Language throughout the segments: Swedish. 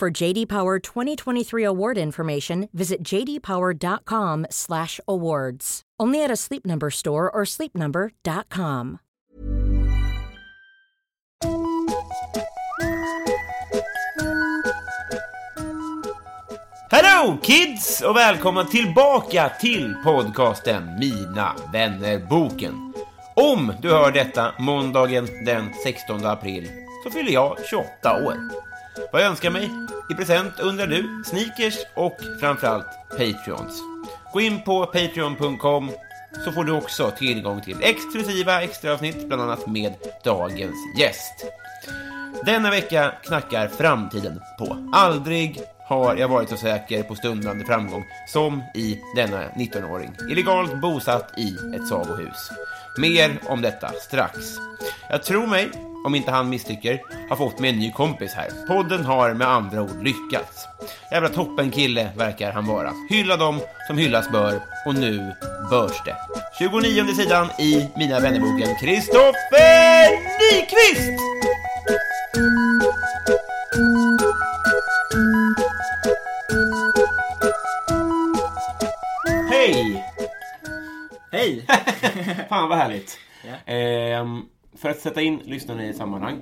For JD Power 2023 award information, visit jdpower.com/awards. Only at a Sleep Number store or sleepnumber.com. Hello kids och välkomna tillbaka till podcasten Mina vännerboken. Om du hör detta måndagen den 16 april så fyller jag 28 år. Vad jag önskar mig i present undrar du? Sneakers och framförallt Patreons. Gå in på patreon.com så får du också tillgång till exklusiva extraavsnitt, bland annat med dagens gäst. Denna vecka knackar framtiden på. Aldrig har jag varit så säker på stundande framgång som i denna 19-åring. Illegalt bosatt i ett sagohus. Mer om detta strax. Jag tror mig, om inte han misstycker, har fått mig en ny kompis här. Podden har med andra ord lyckats. Jävla toppen kille verkar han vara. Hylla dem som hyllas bör och nu börs det. 29 sidan i Mina vännerboken Kristoffer Nyqvist! Hej! Hej! Fan vad härligt. Ja. Ehm, för att sätta in lyssnarna i ett sammanhang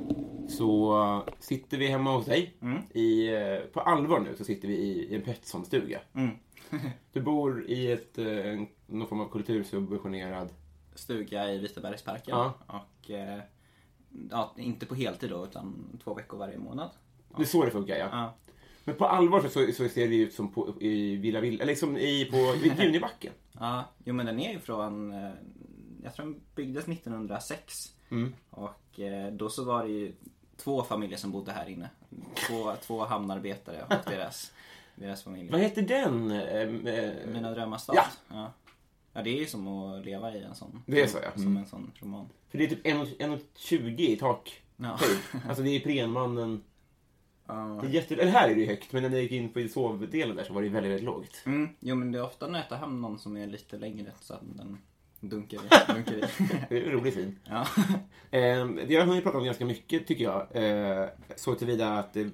så sitter vi hemma hos dig. Mm. I, eh, på allvar nu så sitter vi i, i en Pettersson-stuga. Mm. du bor i ett, eh, en, någon form av kultursubventionerad... Stuga i Vitabergsparken. Ja. Och, eh, ja, inte på heltid då, utan två veckor varje månad. Det är så det funkar ja. Ja. Men på allvar så, så, så ser det ut som på, i Villa Villa, eller liksom i, på vid Junibacken. ja. Jo men den är ju från, eh, jag tror den byggdes 1906. Mm. Och eh, då så var det ju två familjer som bodde här inne. Två, två hamnarbetare och deras, deras Vad familjer. heter den? Ehm, eh, Mina drömmars stad. Ja. ja. Ja, det är ju som att leva i en sån. Det är så, ja. Som Mm. en sån roman. för det är typ 1,20 i tak. Ja. höjd. Alltså det är Prenmannen. Ja. Det är jätte... Eller här är det ju högt, men när jag gick in på sovdelen där så var det väldigt, väldigt lågt. Mm, jo men det är ofta Nötahamn någon som är lite längre så att den dunkar i. Dunkar i. Det är en rolig syn. ja. Eh, det har vi pratat om ganska mycket, tycker jag. Eh, så tillvida att... Eh,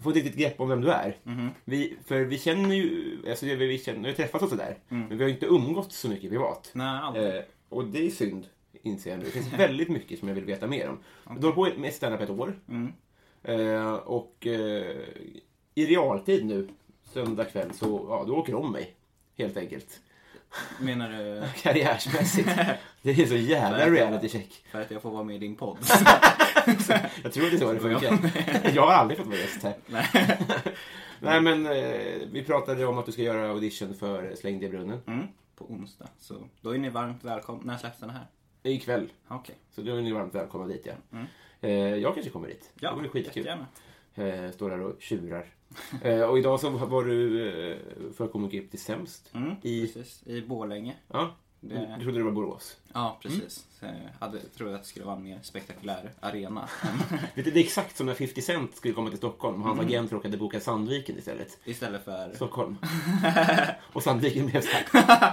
jag får inte riktigt grepp om vem du är. Mm-hmm. Vi, för vi känner ju... Alltså, vi, vi, känner, vi har träffats och sådär. Mm. Men vi har ju inte umgåtts så mycket privat. Nej, aldrig. Eh, och det är synd, inser jag nu. Det finns väldigt mycket som jag vill veta mer om. Du har hållit på med standup ett år. Mm. Eh, och eh, i realtid nu, söndag kväll, så ja, du åker om mig. Helt enkelt. Menar du Karriärsmässigt. Det är så jävla reality check. för att jag får vara med i din podd? Jag tror det är så det funkar. Jag har aldrig fått vara gäst här. Nej. Nej men eh, vi pratade om att du ska göra audition för Släng det i brunnen. Mm, på onsdag. Så då är ni varmt välkomna. När släpps den här? Ikväll. Ja, Okej. Så då är ni varmt välkomna dit ja. Eh, jag kanske kommer dit. det vore skitkul. Mm. jättegärna. Eh, står där och tjurar. eh, och idag så var du eh, för Comic Upp till sämst. Mm, I, Precis, i Borlänge. ja, Det- du trodde det var Borås. Ja, precis. Mm. Jag hade, trodde att det skulle vara en mer spektakulär arena. Vet du, det är exakt som när 50 Cent skulle komma till Stockholm och hans Mm. agent råkade boka Sandviken istället. Istället för... Stockholm. och Sandviken blev såhär,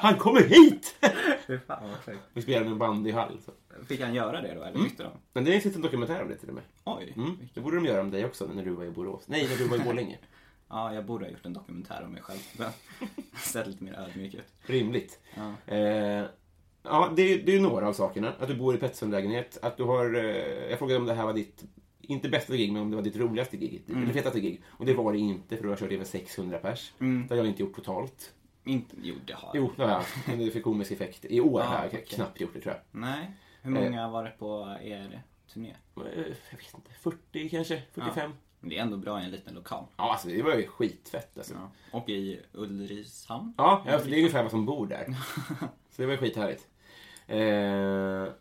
han kommer hit! Fy fan vad sjukt. Vi spelade i en bandyhall. Så. Fick han göra det då, eller tyckte de? Men det finns en dokumentär om det till och med. Oj! Mm. Det borde de göra om dig också när du var i Borås. Nej, när du var i Borlänge. Ja, jag borde ha gjort en dokumentär om mig själv. Sett lite mer ödmjuk ut. Rimligt. Ja. Eh, ja, det, är- det är några av sakerna. Att du bor i Pettersson-lägenhet. Att du har... Eh, jag frågade om det här var ditt inte bästa gig, men om det var ditt roligaste gig. Mm. Eller fetaste gig. Och det var det inte, för du har kört över 600 pers. Mm. Det har jag inte gjort totalt. Inte, jo, det har jag. Jo, det har jag. Men det är för komisk effekt. I år har jag okej. knappt gjort det, tror jag. Nej. Hur många var det på er turné? Eh, Jag vet inte, 40 kanske? 45? Men det är ändå bra i en liten lokal. Ja, alltså det var ju skitfett alltså. Ja. Och i Ulricehamn? Ja, ja för det är ungefär vad som bor där. Så det var ju skithärligt. Eh,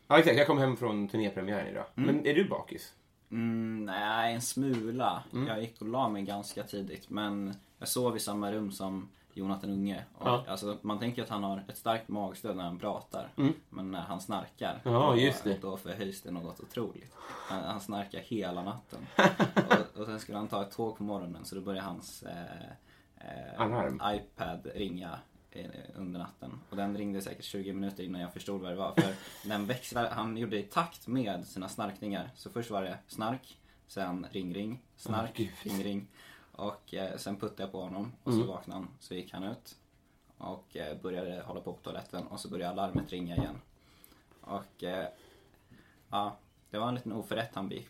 ja, exakt. Jag kom hem från turnépremiären idag. Men är du bakis? Mm, nej, en smula. Mm. Jag gick och la mig ganska tidigt men jag sov i samma rum som Jonathan Unge. Och, Ja. alltså, man tänker att han har ett starkt magstöd när han pratar. Men när han snarkar, Mm. Ja, då, just det. då förhöjs det något otroligt. Han, han snarkar hela natten. och, och sen skulle han ta ett tåg på morgonen så då började hans eh, eh, Alarm. iPad ringa eh, under natten. Och den ringde säkert 20 minuter innan jag förstod vad det var. För den växlar, han gjorde i takt med sina snarkningar. Så först var det snark, sen ring ring, snark, Åh, gud. Mm. ring ring. Och eh, sen puttade jag på honom och så vaknade han. Så gick han ut och eh, började hålla på på toaletten och så började alarmet ringa igen. Och eh, ja, det var en liten oförrätt han begick.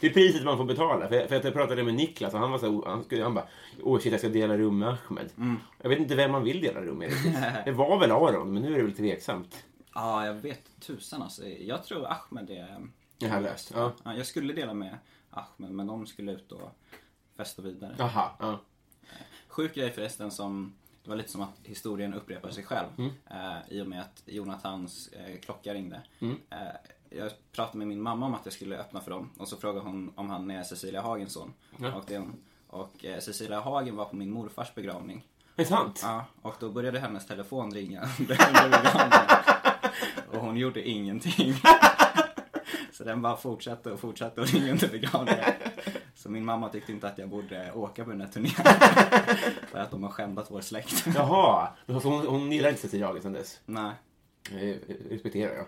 Det är priset man får betala. För, för att jag pratade med Niklas och han var så här, han, skulle, han bara Åh shit, jag ska dela rum med Ahmed. Jag vet inte vem man vill dela rum med riktigt. Det var väl Aron, men nu är det väl tveksamt. Ja, jag vet tusan alltså. Jag tror Ahmed är eh, Det här löst. Ja. Ja, jag skulle dela med Ahmed, men de skulle ut och festa vidare. Aha, ja. Sjuk grej förresten som, det var lite som att historien upprepar sig själv. Mm. Eh, I och med att Jonathans eh, klocka ringde. Mm. Eh, jag pratade med min mamma om att jag skulle öppna för dem och så frågade hon om han är Cecilia Hagens son. Och, det är hon. och eh, Cecilia Hagen var på min morfars begravning. Det är sant. Ja, och då började hennes telefon ringa under begravningen. Och hon gjorde ingenting. Så den bara fortsatte och fortsatte och ringa under begravningen. Så min mamma tyckte inte att jag borde åka på den här turnén. För att de har skändat vår släkt. Jaha, så hon, hon gillar inte Cecilia Hagen sedan dess. Nej. Eh, respekterar jag.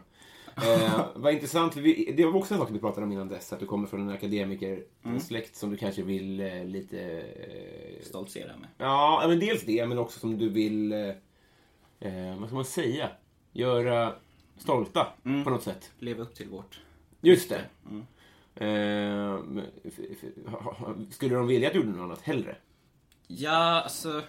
Eh, vad intressant, för vi, det var också en sak vi pratade om innan dess, att du kommer från en akademikersläkt som du kanske vill eh, lite... Eh, Stoltsera med. ja, men dels det, men också som du vill, eh, eh, vad ska man säga, göra stolta Mm. på något sätt. Leva upp till vårt. Just det. Mm. Eh, men f- f- ha- ha- skulle de vilja att du gjorde något annat hellre? Ja, alltså.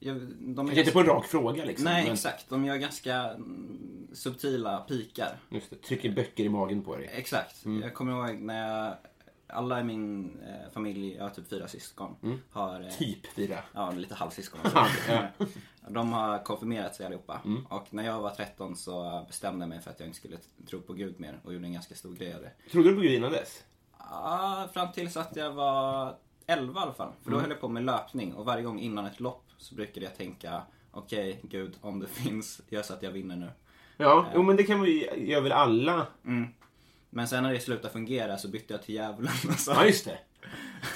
Jag, de Kanske inte på en rak fråga liksom. Nej, men, exakt. De gör ganska mm, subtila pikar. Just det, trycker böcker i magen på dig. Exakt. Jag kommer ihåg när jag, alla i min eh, familj, jag har typ fyra syskon, har eh, Typ fyra. Ja, lite halvsyskon också. De har konfirmerat sig allihopa. Och när jag var 13 så bestämde jag mig för att jag inte skulle t- tro på Gud mer och gjorde en ganska stor grej av det. Trodde du på Gud innan dess? Ah, fram tills att jag var 11 i alla fall. För då höll jag på med löpning och varje gång innan ett lopp så brukade jag tänka Okej Gud, om du finns, gör så att jag vinner nu. Ja, jo, men det kan man ju, gör väl alla Men sen när det slutade fungera så bytte jag till djävulen. och så- Ja, just det.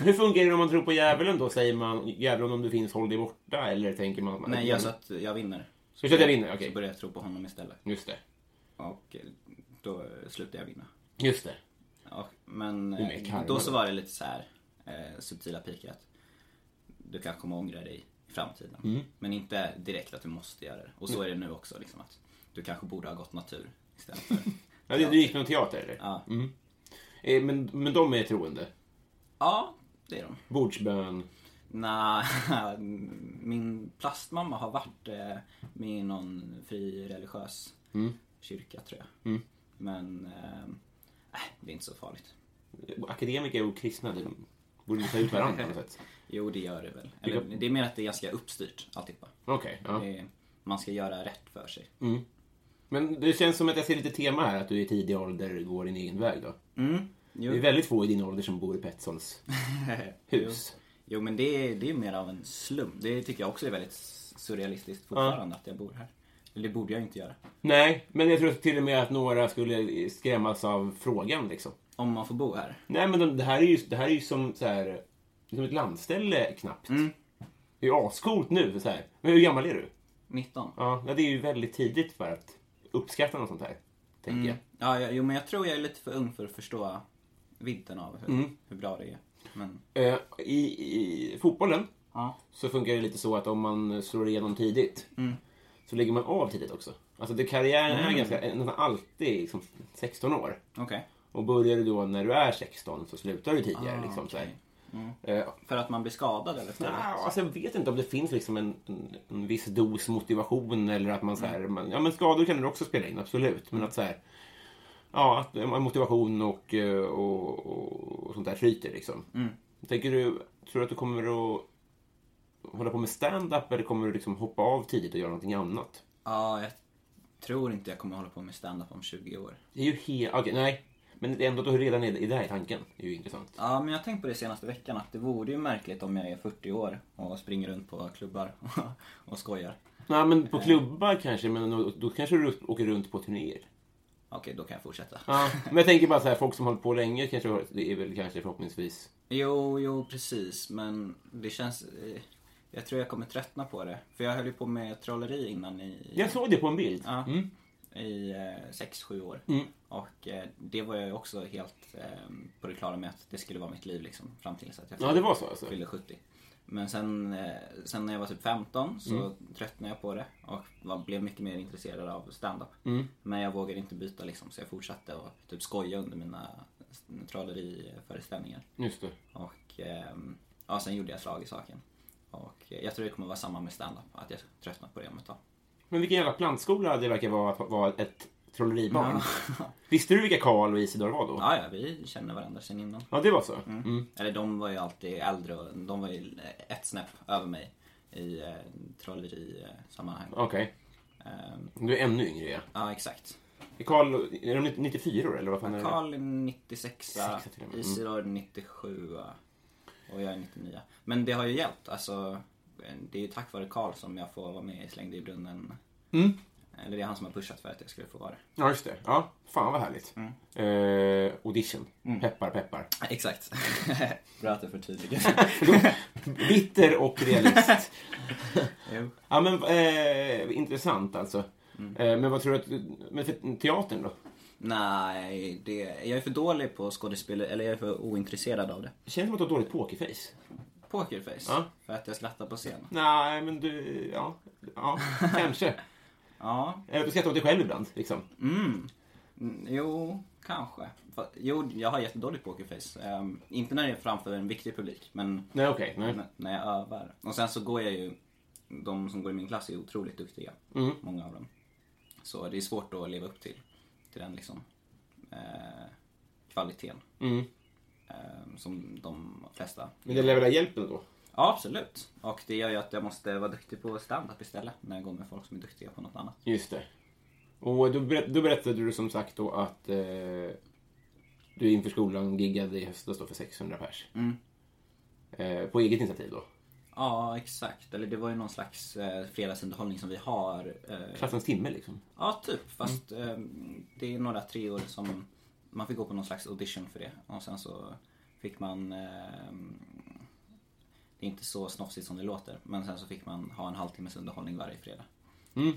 Hur fungerar det om man tror på djävulen då? Säger man djävulen om du finns, håll dig borta? Eller tänker man att man... Nej, gör så att jag vinner. Gör så att jag vinner, okej. Så började jag tro på honom istället. Just det. Och eh, då slutade jag vinna. Just det. Och, men är mer eh, karma då då. så var det lite så här eh, subtila pikar att du kan komma ångra dig i framtiden. Mm. Men inte direkt att du måste göra det. Och så är det nu också liksom att du kanske borde ha gått natur istället för... Ja, du, du gick någon teater eller? Ja. Mm. Eh, Men, men de är troende? ja, det är de. Bordsbön? Nja, min plastmamma har varit eh, med i någon fri religiös kyrka tror jag. Men eh, äh, det är inte så farligt. Akademiker och kristna, det borde ta ut varandra på något sätt. Jo, det gör det väl. Eller, det är mer att det är ganska uppstyrt alltihopa. Okej. ja. Det är- Man ska göra rätt för sig. Men det känns som att jag ser lite tema här, att du i tidig ålder går din egen väg då. Mm. Jo. Det är väldigt få i din ålder som bor i Petsols hus. jo men det är, det är mer av en slum. Det tycker jag också är väldigt surrealistiskt fortfarande att jag bor här. Eller det borde jag inte göra. Nej, men jag tror till och med att några skulle skrämmas av frågan liksom. Om man får bo här. Nej men de, det, här är ju, det här är ju som så här, som ett landställe knappt. Mm. Det är ju ascoolt nu. Så här. Men hur gammal är du? 19. Ja, ja, det är ju väldigt tidigt för att uppskatta något sånt här. Tänker jag. Ja, ja, jo men jag tror jag är lite för ung för att förstå vidden av hur, hur bra det är. Men, Eh, I, I fotbollen ja. så funkar det lite så att om man slår igenom tidigt så lägger eh, man av tidigt också. Alltså det, karriären är ganska, nästan alltid liksom 16 år. Okej. Och börjar du då när du är 16 så slutar du tidigare. liksom, så här. Eh, För att man blir skadad eller? Nej, För alltså jag vet inte om det finns liksom en, en, en viss dos motivation eller att man så här, man, ja men skador kan det också spela in, absolut. Men att så här, ja, att eh, motivation och, eh, och, och, och sånt där flyter liksom. Tänker du, tror du att du kommer att hålla på med stand-up eller kommer du liksom hoppa av tidigt och göra någonting annat? Ja, jag tror inte jag kommer hålla på med stand-up om 20 år. Det är ju helt, okej, nej. Men det är ändå att du redan är, är där i tanken, det är ju intressant. Ja, men jag har tänkt på det senaste veckan att det vore ju märkligt om jag är 40 år och springer runt på klubbar och skojar. Nej, men på klubbar kanske, men då, då kanske du åker runt på turnéer. Okej, då kan jag fortsätta. Ja, men jag tänker bara så här, folk som håller på länge kanske har- det är väl kanske förhoppningsvis. Jo, jo precis, men det känns... eh, Jag tror jag kommer tröttna på det. För jag höll ju på med trolleri innan i, Jag såg det på en bild. Ja. Mm. i eh, sex sju år. Och eh, det var jag ju också helt eh, på det klara med att det skulle vara mitt liv liksom, fram tills att jag Ja, det var så alltså. fyllde 70. Men sen, eh, sen när jag var typ 15 så Mm. tröttnade jag på det och var, blev mycket mer intresserad av stand-up. Mm. Men jag vågade inte byta liksom så jag fortsatte och typ skoja under mina s- trolleriföreställningar. Just det. Och ehm, ja, sen gjorde jag slag i saken. Och eh, jag tror det kommer vara samma med stand-up, att jag tröttnar på det om ett tag. Men vilken jävla plantskola det verkar vara att vara ett trolleribarn. Visste du vilka Karl och Isidor var då? Ja, ja, vi känner varandra sen innan. Ja, det var så. Mm. Eller de var ju alltid äldre och de var ju ett snäpp över mig i eh, trollerisammanhang. Okej. Ehm, Du är ännu yngre, ja. ja, exakt. Är Karl, är de 94 år eller vad fan är det? Karl är 96, till och med. Mm. Isidor 97 och jag är 99. Men det har ju hjälpt. Alltså, det är ju tack vare Karl som jag får vara med i Slängd i brunnen. Mm. Eller det är han som har pushat för att jag skulle få vara det. Ja, just det. Ja, fan vad härligt. Eh, audition. Peppar, peppar. Exakt. Bra att du förtydligar. Bitter och realist. Jo. ja, men eh, intressant alltså. Eh, men vad tror du att... Men för teatern då? Nej, det, jag är för dålig på skådespel, eller jag är för ointresserad av det. Känns som att du har dåligt pokerface. Pokerface, Ja. för att jag skrattar på scen. Nej, men du... Ja, ja kanske. Ja, Eh, Du skrattar åt dig själv ibland. Liksom. mm, jo, kanske. Fa- Jo, jag har jättedåligt pokerface. Ehm, inte när jag är framför en viktig publik, men Nej, okej. nej. n- när jag övar. Och sen så går jag ju, de som går i min klass är otroligt duktiga, Mm. många av dem. Så det är svårt att leva upp till, till den liksom eh, kvaliteten Mm. ehm, som de flesta Men det lär väl ha hjälpt ändå? Ja, absolut. Och det gör ju att jag måste vara duktig på stand-up istället när jag går med folk som är duktiga på något annat. Just det. Och då, berätt, då berättade du som sagt då att eh, du inför skolan giggade i höstas då för 600 pers. Eh, på eget initiativ då? Ja, exakt. Eller det var ju någon slags eh, fredagsunderhållning som vi har. Eh, Klassens timme liksom? ja, typ. Fast eh, det är några tre år som man fick gå på någon slags audition för det. Och sen så fick man... Eh, det är inte så snofsigt som det låter. Men sen så fick man ha en halvtimmes underhållning varje fredag.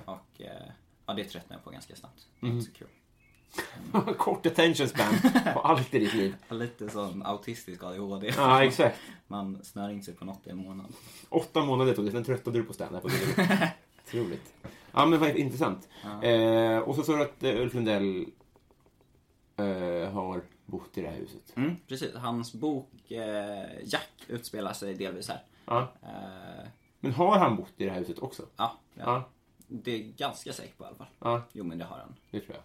Och eh, ja, det tröttnade jag på ganska snabbt. Det var Inte så kul. Kort attention span på allt i ditt liv. Lite sån autistisk ADHD. Ja, exakt. Man snör in sig på något i en månad. Åtta månader tog det, sen tröttnade du på stand-up. och det är Otroligt. Ja, men vad intressant. Eh, och så sa du att eh, Ulf Lundell eh, har bott i det här huset. Mm, precis. Hans bok eh, Jack utspelar sig delvis här. Ja. Eh, Men har han bott i det här huset också? ja, ja. Ja, Det är ganska säkert på i alla fall. ja Jo, men det har han. det tror jag.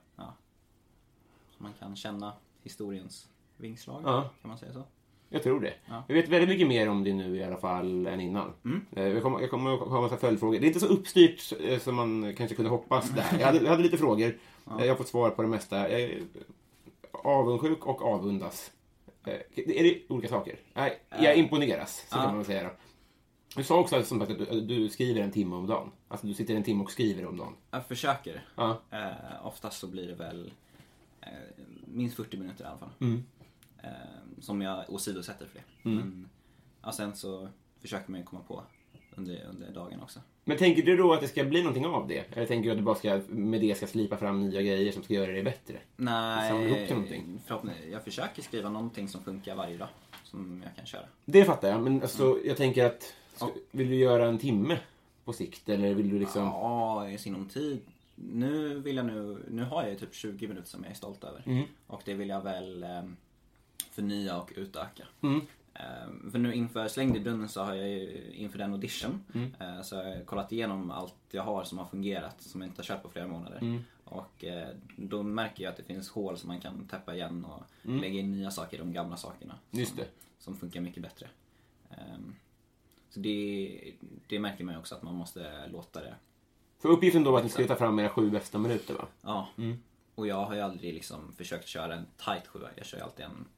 Så man kan känna historiens vingslag, Ja. kan man säga så. Jag tror det. Ja. Jag vet väldigt mycket mer om det nu i alla fall än innan. Eh, Jag kommer, jag kommer att ha en massa följdfrågor. Det är inte så uppstyrt eh, som man kanske kunde hoppas där. Jag hade, jag hade lite frågor. Eh, Jag har fått svar på det mesta. Jag är avundsjuk och avundas. Eh, Är det olika saker? Nej, jag imponeras, så kan man väl säga då. Du sa också som sagt att du, du skriver en timme om dagen. Alltså du sitter en timme och skriver om dagen. Jag försöker. Ja. Eh, oftast så blir det väl eh, minst 40 minuter i alla fall. Mm. Eh, som jag åsidosätter för det. Men, ja, sen så försöker man ju komma på under, under dagen också. Men tänker du då att det ska bli någonting av det? Eller tänker du att du bara ska, med det ska slipa fram nya grejer som ska göra dig bättre? Samla ihop Nej, till någonting. förhoppningsvis. Jag försöker skriva någonting som funkar varje dag. Som jag kan köra. Det fattar jag, men alltså, Mm. jag tänker att... ska- Vill du göra en timme på sikt, eller vill du liksom... Ja, i sinom tid nu vill jag nu, nu har jag ju typ 20 minuter som jag är stolt över. Och det vill jag väl eh, förnya och utöka. Eh, För nu inför Släng dig i brunnen så har jag ju inför den audition eh, så har jag kollat igenom allt jag har som har fungerat som jag inte har kört på flera månader. Och eh, då märker jag att det finns hål som man kan täppa igen och lägga in nya saker i de gamla sakerna. Just det. Som funkar mycket bättre. Ehm, Så det, det märker man ju också att man måste låta det För uppgiften då var att ni skulle ta fram era sju bästa minuter va? Ja. Mm. Och jag har ju aldrig liksom försökt köra en tight sjua. Jag kör ju alltid en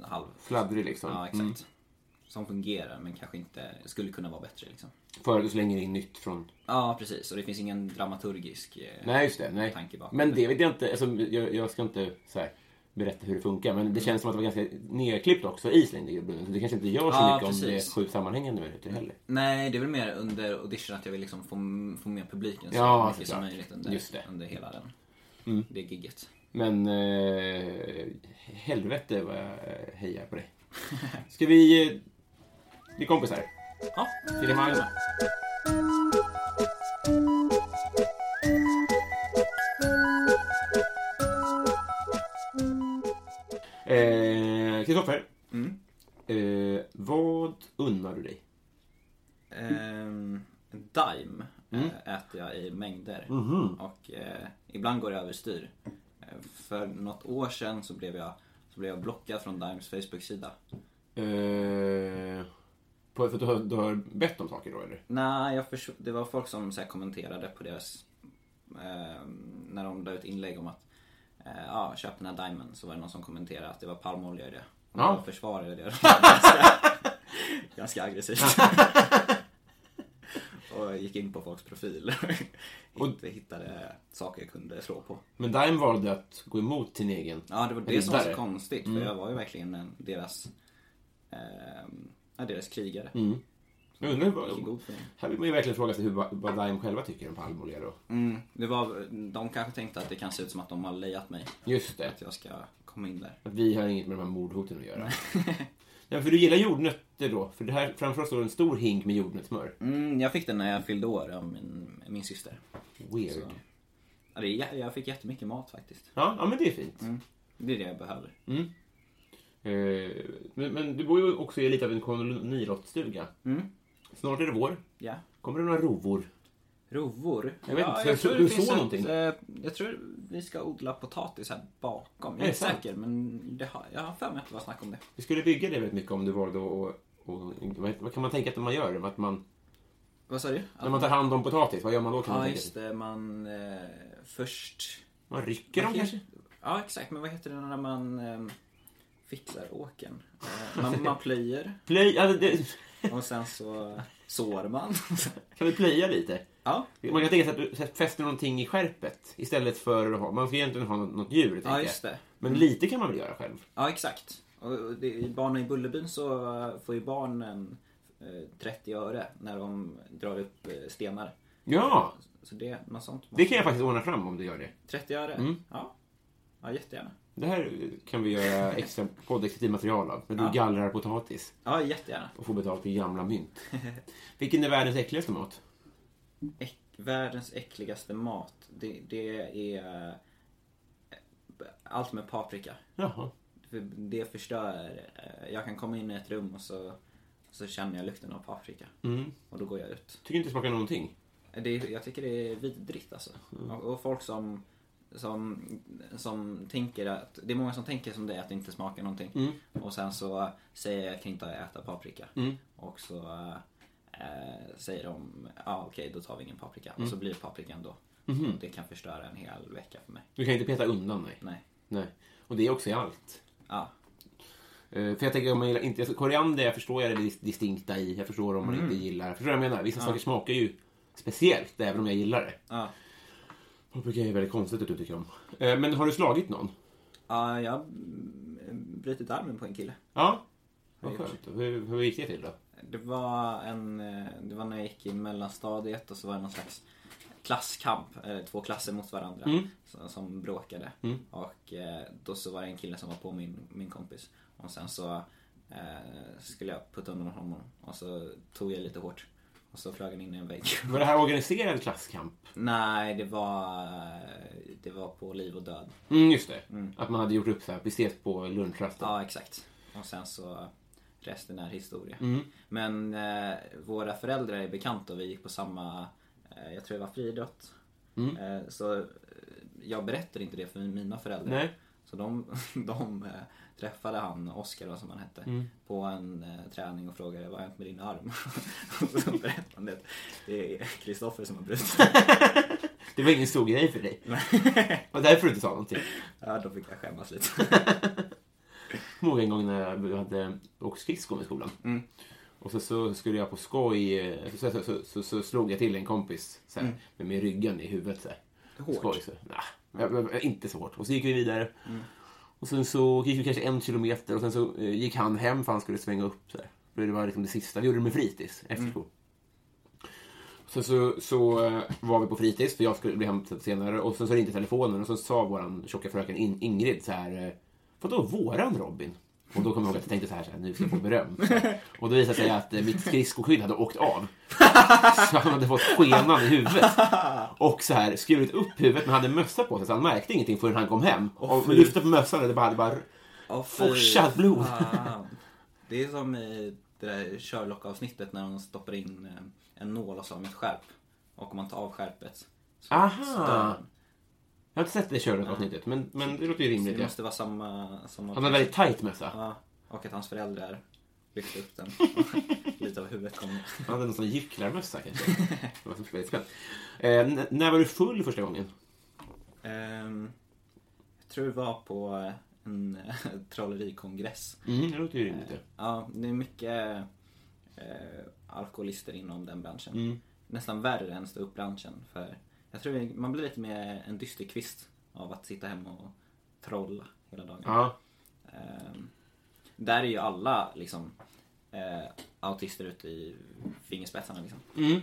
halv. Fladdrig liksom. Ja, exakt. Mm. Som fungerar men kanske inte skulle kunna vara bättre liksom. För att du slänger in nytt från... Ja, precis. Och det finns ingen dramaturgisk... eh, Nej, just det. Nej. Tanke bakom Men det. det vet jag inte. Alltså, jag, jag ska inte så här, berätta hur det funkar. Men Mm. det känns som att det var ganska nerklippt också i slängd i brunnen. Så det kanske inte gör så Ja, mycket om det är precis. sju sammanhängande minuter heller. Nej, det är väl mer under audition att jag vill liksom få, få med publiken så Ja, mycket som såklart. möjligt under, Just det. Mm. under hela den. Det gigget. Men eh, helvete vad jag hejar på dig. Ska vi... Eh, vi är kompisar. Ja, Filimang. Eh, Kristoffer. Mm. Eh, vad unnar du dig? Ehm, en Daim eh, äter jag i mängder. Och eh, ibland går det överstyr. Eh, För något år sedan så blev jag, så blev jag blockad från Dimes Facebook-sida. Eh, på, för att du har, du har bett om saker då eller? Nej, jag förs- det var folk som så här, kommenterade på deras... Eh, när de la ut inlägg om att eh, ja, köp den här Dimen. Så var det någon som kommenterade att det var palmolja i det. Och Ja. då försvarade jag det. ganska, ganska aggressivt. och gick in på folks profil. och inte hittade saker jag kunde slå på. Men Dime valde att gå emot sin egen. Ja, det var det som var så riddare. Mm. konstigt. För jag var ju verkligen en, deras... ehm, ja, deras krigare. Mm. Jag undrar, Gick i vad- god för dem. här vill man ju verkligen fråga sig hur, vad vad Dime själva tycker om palmolja då. Mm, det var, de kanske tänkte att det kan se ut som att de har lejat mig. Just det. Att jag ska komma in där. Att vi har inget med de här mordhoten att göra. Nej, för du gillar jordnötter då? För det här framför oss står en stor hink med jordnötssmör. Mm, jag fick den när jag fyllde år av min, min syster. Weird. Så. Ja, det är, jä- jag fick jättemycket mat faktiskt. Ja, ja, men det är fint. Mm. Det är det jag behöver. Eh, men, men du bor ju också i lite av en kolonilottstuga. Mm. Snart är det vår. Ja. Kommer det några rovor? Rovor. Jag vet ja, inte, jag tror- det du finns såg ett, någonting. eh, Jag tror vi ska odla potatis här bakom. Är Jag är det inte sant? säker men det har, jag har för mig att det var snack om det. Vi skulle bygga det väldigt mycket om du valde att... Och, och, vad, vad kan man tänka att man gör? Att man, Vad sa du? när man tar hand om potatis, vad gör man då? Kan man, Ja tänka just sig? det, man eh, först... man rycker dem Man kanske? heter- Ja exakt, men vad heter det när man eh, fixar åken? Eh, man, man plöjer Plöj, ja, det- det, och sen så sår man. kan vi plöja lite? ja, Man kan tänka sig att du fäster någonting i skärpet istället för att ha... Man ska egentligen ha något, något djur, tänker ja jag. just det. Mm. Men lite kan man väl göra själv? Ja exakt. Och och det, i barnen i Bullerbyn så eh, får ju barnen eh, 30 öre när de drar upp eh, stenar. Ja, Så det, Mm. något sånt. det kan jag faktiskt ordna fram om du gör det. 30 öre? Ja. ja, jättegärna. Det här kan vi göra extra poddexklusivt material av. När du Ja. gallrar potatis Ja, jättegärna. och får betalt i gamla mynt. Vilken är världens äckligaste mat? Äck, världens äckligaste mat, det, det är eh, allt med paprika. Jaha. För det förstör. eh, Jag kan komma in i ett rum och så, så känner jag lukten av paprika. Och då går jag ut. Tycker inte det smakar någonting. Det, är- jag tycker det är vidrigt alltså. Och, och folk som, som, som tänker att, det är många som tänker som det att det inte smakar någonting. Och sen så säger jag att jag kan inte äta paprika. Och så eh, säger de, ja ah, okej då tar vi ingen paprika. Och så blir det paprika ändå. Och det kan förstöra en hel vecka för mig. Du kan inte peta undan, nej. Nej. nej. Och det är också i allt. Ja, Eh, För jag tänker om man gillar inte... alltså, Koriander jag förstår jag det dis- distinkta i. Jag förstår om man Mm. inte gillar... Förstår du vad jag menar? Vissa saker smakar ju speciellt, även om jag gillar det. ja. Paprika är väldigt konstigt att du tycker om. Eh, Men har du slagit någon? ja jag har mm, brutit armen på en kille. Ja. Vad skönt. Hur, hur gick det till då? Det var, en, eh, det var när jag gick i mellanstadiet och så var det någon slags klasskamp, eh, två klasser mot varandra som, som bråkade. Och eh, då så var det en kille som var på min, min kompis. Och sen så eh, skulle jag putta undan honom och så tog jag lite hårt. Och Och så flög han in i en vägg. Var det här organiserad klasskamp? Nej, det var, eh, det var på liv och död. Mm, just det. Att man hade gjort upp så här. Vi ses på lunchrasten. Ja, exakt. Och sen så resten är historia. Men eh, våra föräldrar är bekanta och vi gick på samma, eh, jag tror det var friidrott. Eh, så eh, jag berättar inte det för mina föräldrar. Nej. Så de, de eh, träffade han, Oskar då, som han hette, på en eh, träning och frågade vad har hänt med din arm? och så berättade han det. Det är Kristoffer som har brutit den." Det var ingen stor grej för dig. Och därför du inte sa någonting. Ja, då fick jag skämmas lite. Jag kommer ihåg en gång när jag hade åkt skridskor i skolan. Och så, så skulle jag på skoj, eh, så, så, så, så, så slog jag till en kompis så här, med, med ryggen i huvudet. Så här. Hårt. Skoj, så. Nah, jag, jag, jag, inte så hårt. Och så gick vi vidare. Och sen så gick vi kanske en kilometer och sen så eh, gick han hem för han skulle svänga upp. Så här. För Det var liksom det sista. Vi gjorde det med fritids efter skolan. Sen så, så eh, var vi på fritids, för jag skulle bli hämtad senare. Och sen så ringde telefonen och så sa våran tjocka fröken In- Ingrid så här. eh, Vadå våran Robin? Och då kom jag ihåg att jag tänkte så här, så här nu ska jag få beröm. Så här. Och då visade det sig att eh, mitt skridskoskydd hade åkt av. Så han hade fått skenan i huvudet. Och så här skurit upp huvudet men hade mössa på sig så han märkte ingenting förrän han kom hem. Och lyfte på mössan och det bara, hade bara Oh, Forsat blod. Det är som i det där Sherlock-avsnittet när de stoppar in eh, en nål och så har de ett skärp. Och om man tar av skärpet så så dör Aha! den. Jag har inte sett det Sherlock-avsnittet men, men det låter ju Så rimligt. det Ja. måste vara samma... samma Han hade väldigt tajt mössa. Ja, och att hans föräldrar lyfte upp den. Lite av huvudet kom Han hade någon sån gycklarmössa kanske. Det var så väldigt skönt. Eh, n- när var du full första gången? Ehm, Jag tror det var på en eh, trollerikongress. Mm, det låter ju rimligt. ja. Ja, det är mycket eh, alkoholister inom den branschen. Mm. Nästan värre än stå upp branschen För jag tror det- man blir lite mer en dysterkvist av att sitta hemma och trolla hela dagen. Ja. Ehm, där är ju alla liksom eh, autister ute i fingerspetsarna liksom. Mm.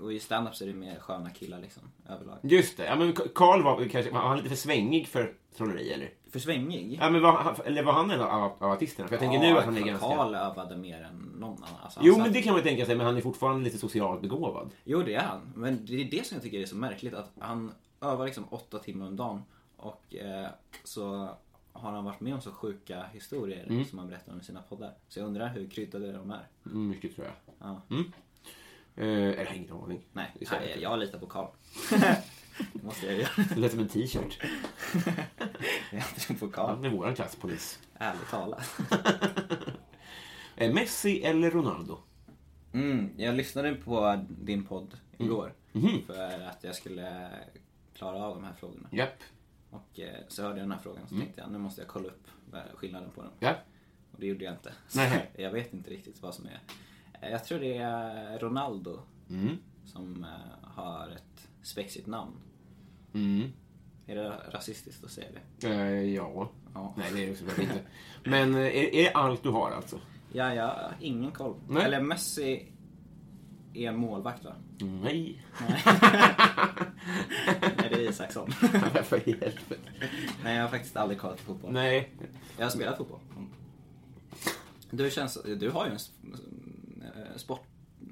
Och i stand-up så är det mer sköna killar liksom överlag. Just det. Ja, men Karl var väl kanske var han lite för svängig för trolleri, eller? För svängig. Ja, men var, han- eller var han en av- av av artisterna? För jag tänker nu att han är ganska... Karl övade mer än någon annan. Alltså, Jo, han men satt- det kan man ju tänka sig, men han är fortfarande lite socialt begåvad. Jo, det är han. Men det är det som jag tycker är så märkligt. Att han övar liksom åtta timmar om dagen och eh, så har han varit med om så sjuka historier som han berättar om i sina poddar. Så jag undrar hur kryddade de är. Mm, mycket, tror jag. Mm. Ja. Eh, eller jag har ingen aning. Nej, Det är nej, säkert. jag litar på Karl. det måste jag göra. Det lät som en t-shirt. Jag litar på Karl. Han är våran klasspolis. Ärligt talat. Eh, Messi eller Ronaldo? Mm, jag lyssnade på din podd igår för att jag skulle klara av de här frågorna. Japp. Och eh, så hörde jag den här frågan så tänkte jag nu måste jag kolla upp vad- skillnaden på dem. Ja. Och det gjorde jag inte. Så Nej. jag vet inte riktigt vad som är. Eh, Jag tror det är Ronaldo som eh, har ett spexigt namn. Mm. Är det rasistiskt att säga det? Eh, ja. Ja. Nej, det är det såklart inte. Men eh, är, är det allt du har alltså? Ja, jag har ingen koll. Nej. Eller Messi är en målvakt va? Nej. Nej, det är Isaksson. För helvete. Nej, jag har faktiskt aldrig kollat på fotboll. Nej. Mm. Jag har spelat fotboll. Du, känns, du har ju en s- eh, sport...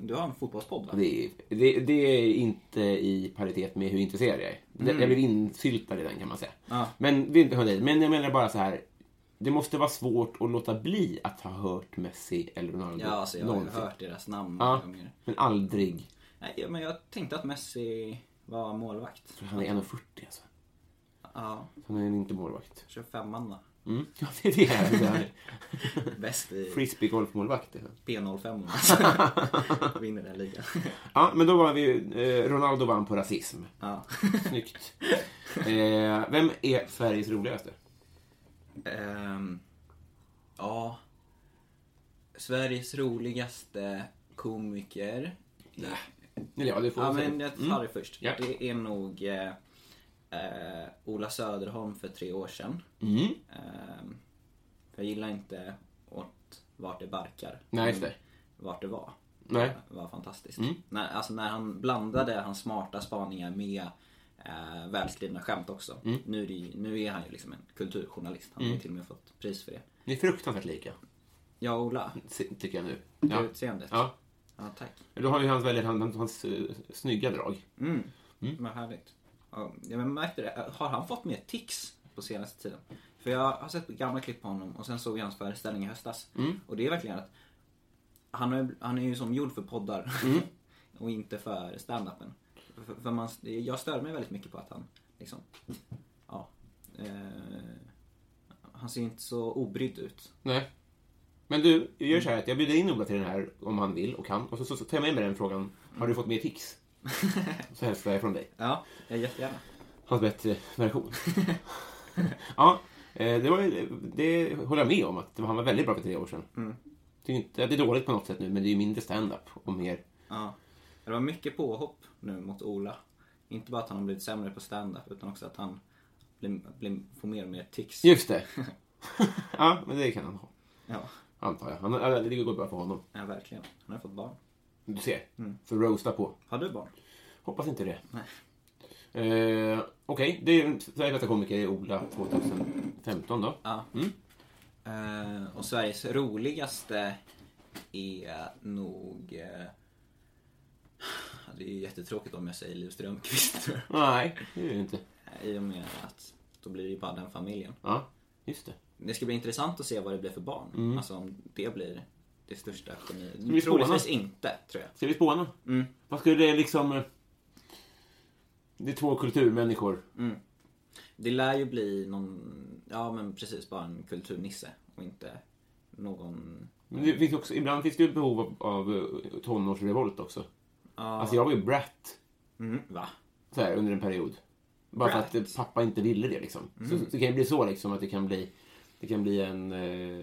Du har en fotbollspodd va? Det är, det, det är inte i paritet med hur intresserad jag är. Det- Jag blev insyltad i den kan man säga. Mm. Ja. Men det är inte hör dig. Men jag menar bara så här. Det måste vara svårt att låta bli att ha hört Messi eller Ronaldo Ja, alltså jag har ju någonsin. hört deras namn många Ja, gånger. men aldrig. Nej, men jag tänkte att Messi var målvakt. För han är 1,40 alltså. Ja, Han är inte målvakt. 25 va? Mm. Ja, det är det han är. Bäst i Frisbeegolfmålvakt är han. P05 alltså. Vinner den ligan. Ja, men då var vi ju- eh, Ronaldo vann på rasism. Ja. Snyggt. Eh, vem är Sveriges roligaste? Ehm, ja. Sveriges roligaste komiker. Eller ja, det får Ja vi se. men jag tar det först. Mm. Ja. Det är nog eh, eh, Ola Söderholm för tre år sedan. Mm. Ehm, jag gillar inte åt vart det barkar. Nej, just det. Vart det var. Nej. var fantastiskt. När, alltså när han blandade hans smarta spaningar med eh, välskrivna skämt också. Nu, är det, ju- nu är han ju liksom en kulturjournalist. Han har ju till och med fått pris för det. Ni är fruktansvärt lika, Ja, Ola. se- tycker jag nu. Utseende. Ja. Ja, tack. Du har ju hans väldigt hans, hans eh, snygga drag. Mm. Vad härligt. Ja, jag märkte det. Har han fått mer tics på senaste tiden? För jag har sett gamla klipp på honom och sen såg jag hans föreställning i höstas. Och det är verkligen att han är, han är ju som gjord för poddar och inte för standupen. För, för man, jag stör mig väldigt mycket på att han liksom, ja. Eh, han ser inte så obrydd ut. Nej. Men du, jag gör så här att jag bjuder in Ola till den här om han vill och kan. Och så, så, så tar jag med mig den frågan. Har du fått mer tics? Så hälsar jag från dig. Ja, jag Eh, jättegärna. Hans bättre version. ja, eh, det, var, ju- det håller jag med om. att det var- Han var väldigt bra för tre år sedan. Tycker inte att det är dåligt på något sätt nu, men det är ju mindre stand-up och mer... Ja. Det var mycket påhopp nu mot Ola. Inte bara att han har blivit sämre på stand-up utan också att han blir, blir, får mer och mer tics. Just det! ja, men det kan han ha. Ja, Antar jag. Han, ja, det går bra för honom. ja, verkligen. Han har fått barn. Du ser. Så roasta på. Har du barn? Hoppas inte det. Nej. Eh, Okej, det är Sveriges bästa komiker är Ola 2015 då. Ja. Eh, och Sveriges roligaste är nog... eh, Det är ju jättetråkigt om jag säger Liv Strömquist. Nej, det är det inte. I och med att då blir det ju bara den familjen. Ja, just det. Det ska bli intressant att se vad det blir för barn. Alltså om det blir det största bli geniet. Troligtvis spännande. inte, tror jag. Ska vi spåna? Mm. Vad skulle det liksom... eh, Det är två kulturmänniskor. Det lär ju bli någon, ja men precis, bara en kulturnisse och inte någon... Men det finns också, ibland finns det ju behov av, av eh, tonårsrevolt också. Alltså jag var ju brat Mm, va? så här, under en period. Bara för Brat. Mm. att eh, pappa inte ville det liksom. Så, så det kan ju bli så liksom att det kan bli, det kan bli en, eh,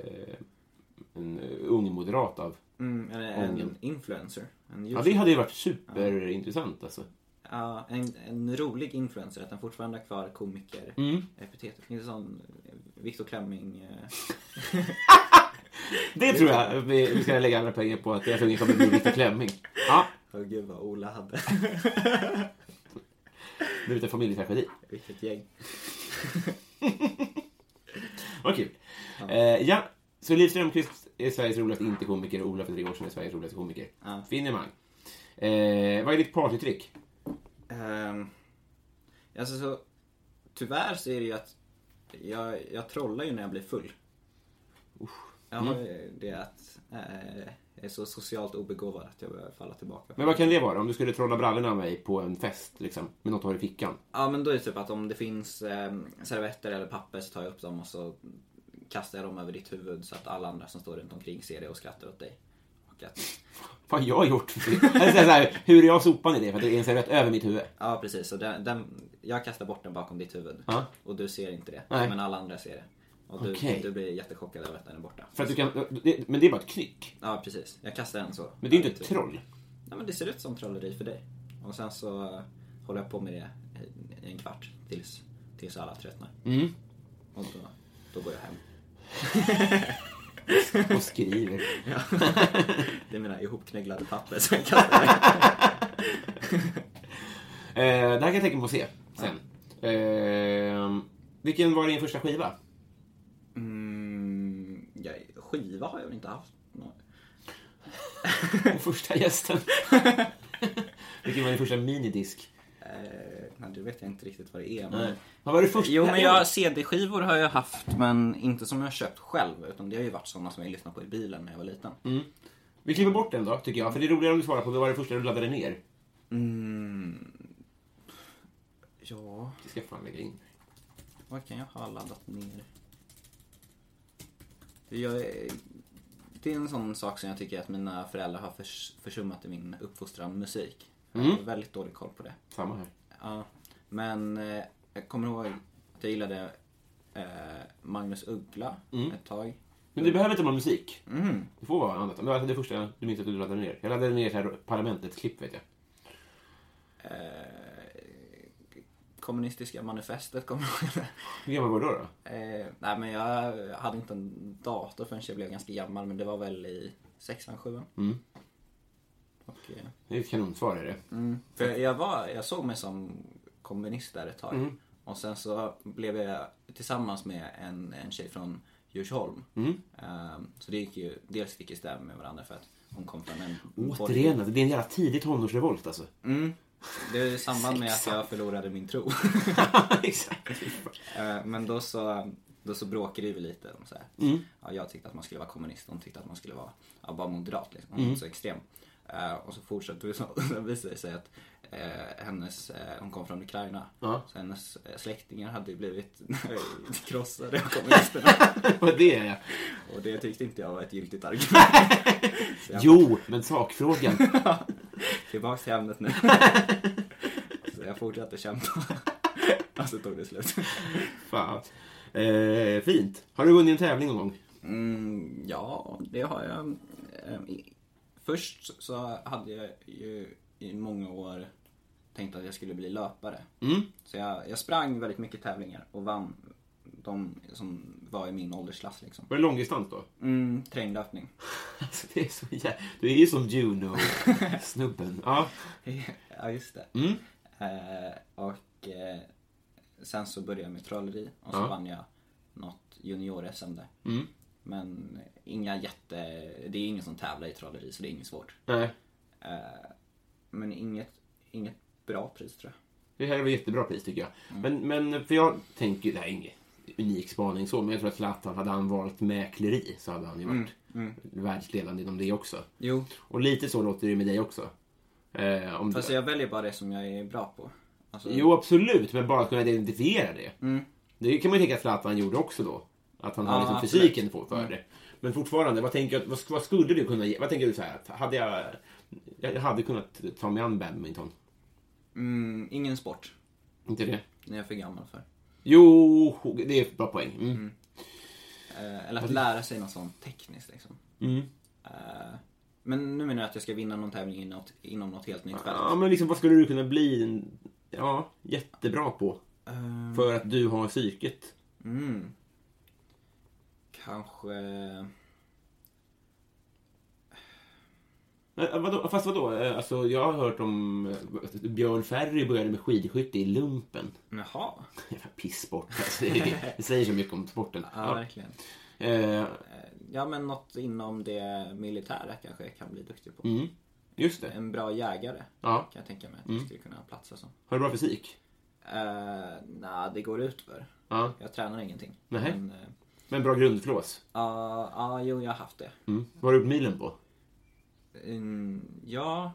en eh, ung moderat av. Mm, eller en Ången. influencer. En, Ja, youtuber. det hade ju varit superintressant alltså. ja, en, en rolig influencer, att den fortfarande har kvar komiker Mm. epitetet. Inte sån eh, Victor Klemming... eh, Det tror jag att vi, vi ska lägga alla pengar på att jag tror att ni kommer bli lite klämming. Ja, Åh gud vad Ola hade. det är lite familjetragedi. Vilket gäng. Vad kul. Eh, ja, så Liv Strömquist är Sveriges roligaste inte-komiker och Ola för tre år sedan är Sveriges roligaste komiker. Ja. Finemang. Eh, vad är ditt partytrick? Ehm, alltså så, tyvärr så är det ju att jag, jag trollar ju när jag blir full. Jag har Mm. ju det att eh, jag är så socialt obegåvad att jag börjar falla tillbaka. Men vad kan det vara? Om du skulle trolla brallorna av mig på en fest liksom, med något du har i fickan. Ja men då är det typ att om det finns ehm, servetter eller papper så tar jag upp dem och så kastar jag dem över ditt huvud så att alla andra som står runt omkring ser det och skrattar åt dig. Och att, Vad har jag gjort? Eller så här, hur är jag sopan i det? För att det är en servett över mitt huvud. ja precis, så den, den, jag kastar bort den bakom ditt huvud. Ja. Och du ser inte det, Nej. men alla andra ser det. Och du, Okej. du blir jättechockad över att den är borta. För att du kan, det, men det är bara ett knyck. Ja, precis. Jag kastar en så. Men det är inte ett Typ. troll. Nej, men det ser ut som trolleri för dig. Och sen så eh, håller jag på med det i- i en kvart tills, tills alla tröttnar. Mm. Och då, då går jag hem. Och skriver. Det är mina ihopknägglade papper som jag kastar. iväg. Eh, det här kan jag tänka mig att se sen. Eh, vilken var din första skiva? Mm, ja, skiva har jag väl inte haft någon. Och första gästen? vilken var din första minidisk? Eh, nej, det vet jag inte riktigt vad det är. Men... Nej. Vad var det första? Jo men jag, CD-skivor har jag haft men inte som jag har köpt själv utan det har ju varit sådana som jag lyssnade på i bilen när jag var liten. Vi kliver bort den då, tycker jag. För det är roligare om du svarar på vad var det första du laddade ner. Ja, Det ska jag fan lägga in. Vad kan jag ha laddat ner? Jag, är- det är en sån sak som jag tycker att mina föräldrar har förs, försummat i min uppfostran musik. Jag har väldigt dålig koll på det. Samma här. Ja, men eh, jag kommer ihåg att jag gillade eh, Magnus Uggla ett tag. Men Mm. det behöver inte vara musik. Det får vara annat. Men alltså det första du minns att du laddade ner. Jag laddade ner det här Parlamentet-klipp, vet jag. Kommunistiska manifestet kommer jag ihåg. Hur gammal var du då? då? Eh, nej men jag hade inte en dator förrän jag blev ganska gammal men det var väl i sexan, sjuan. Och, eh, Det är ett kanonsvar, är det. Mm, För jag, var, jag såg mig som kommunist där ett tag. Och sen så blev jag tillsammans med en, en tjej från Djursholm. Ehm, så det gick ju dels stick i stäv med varandra för att Hon kom från en... Återigen, alltså. det är en jävla tidig tonårsrevolt alltså. Det är i samband med att jag förlorade min tro. Exakt. Eh, Men då så, då så bråkade vi lite om så här. Ja, jag tyckte att man skulle vara kommunist, hon tyckte att man skulle vara ja, bara moderat liksom. Hon var inte så extrem. Eh, och så fortsatte vi så och sen visade det sig att eh, hennes, eh, hon kom från Ukraina. Ja. Så hennes eh, släktingar hade ju blivit krossade av kommunisterna. Vad det är jag. och det tyckte inte jag var ett giltigt argument. Jo, men sakfrågan. Tillbaks till ämnet nu. så jag fortsatte kämpa. Och så tog det slut. Fan. Eh, fint. Har du vunnit en tävling någon gång? Mm, ja, det har jag. Ehm, i- Först så hade jag ju i många år tänkt att jag skulle bli löpare. Så jag, jag sprang väldigt mycket tävlingar och vann de som var i min åldersklass. Liksom. Var det långdistans då? Mm, terränglöpning. Alltså, det är så jä... Du är ju som Juno-snubben. Ja. ja, just det. Eh, och eh, sen så började jag med trolleri och så Ja. vann jag något junior-SM där. Men inga jätte... Det är ingen som tävlar i trolleri så det är inget svårt. Nej, Men inget, inget bra pris tror jag. det här var ett jättebra pris tycker jag. Men, men för jag tänker, det här är ingen unik spaning så, men jag tror att Zlatan, hade han valt mäkleri så hade han ju varit världsledande inom det också. Jo. Och lite så låter det ju med dig också. Eh, om Fast du... jag väljer bara det som jag är bra på. Alltså, Jo, absolut, men bara att kunna identifiera det. Det kan man ju tänka att Zlatan gjorde också då. Att han har Mm. Ja, liksom absolut. Mm. fysiken på för det. Men fortfarande, vad, tänker, jag- vad, vad skulle du kunna ge? Vad tänker du så här? att Hade jag, jag hade kunnat ta mig an badminton. mm, ingen sport. Inte det? Det är jag för gammal för. Jo, det är ett bra poäng. Mm. Eh, eller att lära sig något sånt tekniskt liksom. Mm. Eh, men nu menar jag att jag ska vinna någon tävling inom något, inom något helt nytt fält. Ja, men liksom, vad skulle du kunna bli en- ja, jättebra på? Eh, För att du har psyket. mm. Kanske... Eh, Vadå, fast vadå? Eh, Alltså, jag har hört om eh, att Björn Ferry började med skidskytte i lumpen. Jaha. Jävla Pisssport. Alltså, det, är- det säger så mycket om sporten. Ja, Ja. verkligen. Eh, Eh, ja, men något inom det militära kanske jag kan bli duktig på. mm, just det. En bra jägare Ja. Mm. kan jag tänka mig att jag skulle kunna platsa som. Har du bra fysik? Uh, Nej, det går ut för. Ja. Jag tränar ingenting. Nähä. Men, eh, Men bra grundflås? ja, ja, jo, jag har haft det. Mm. Vad har du gjort milen på? Mm, ja,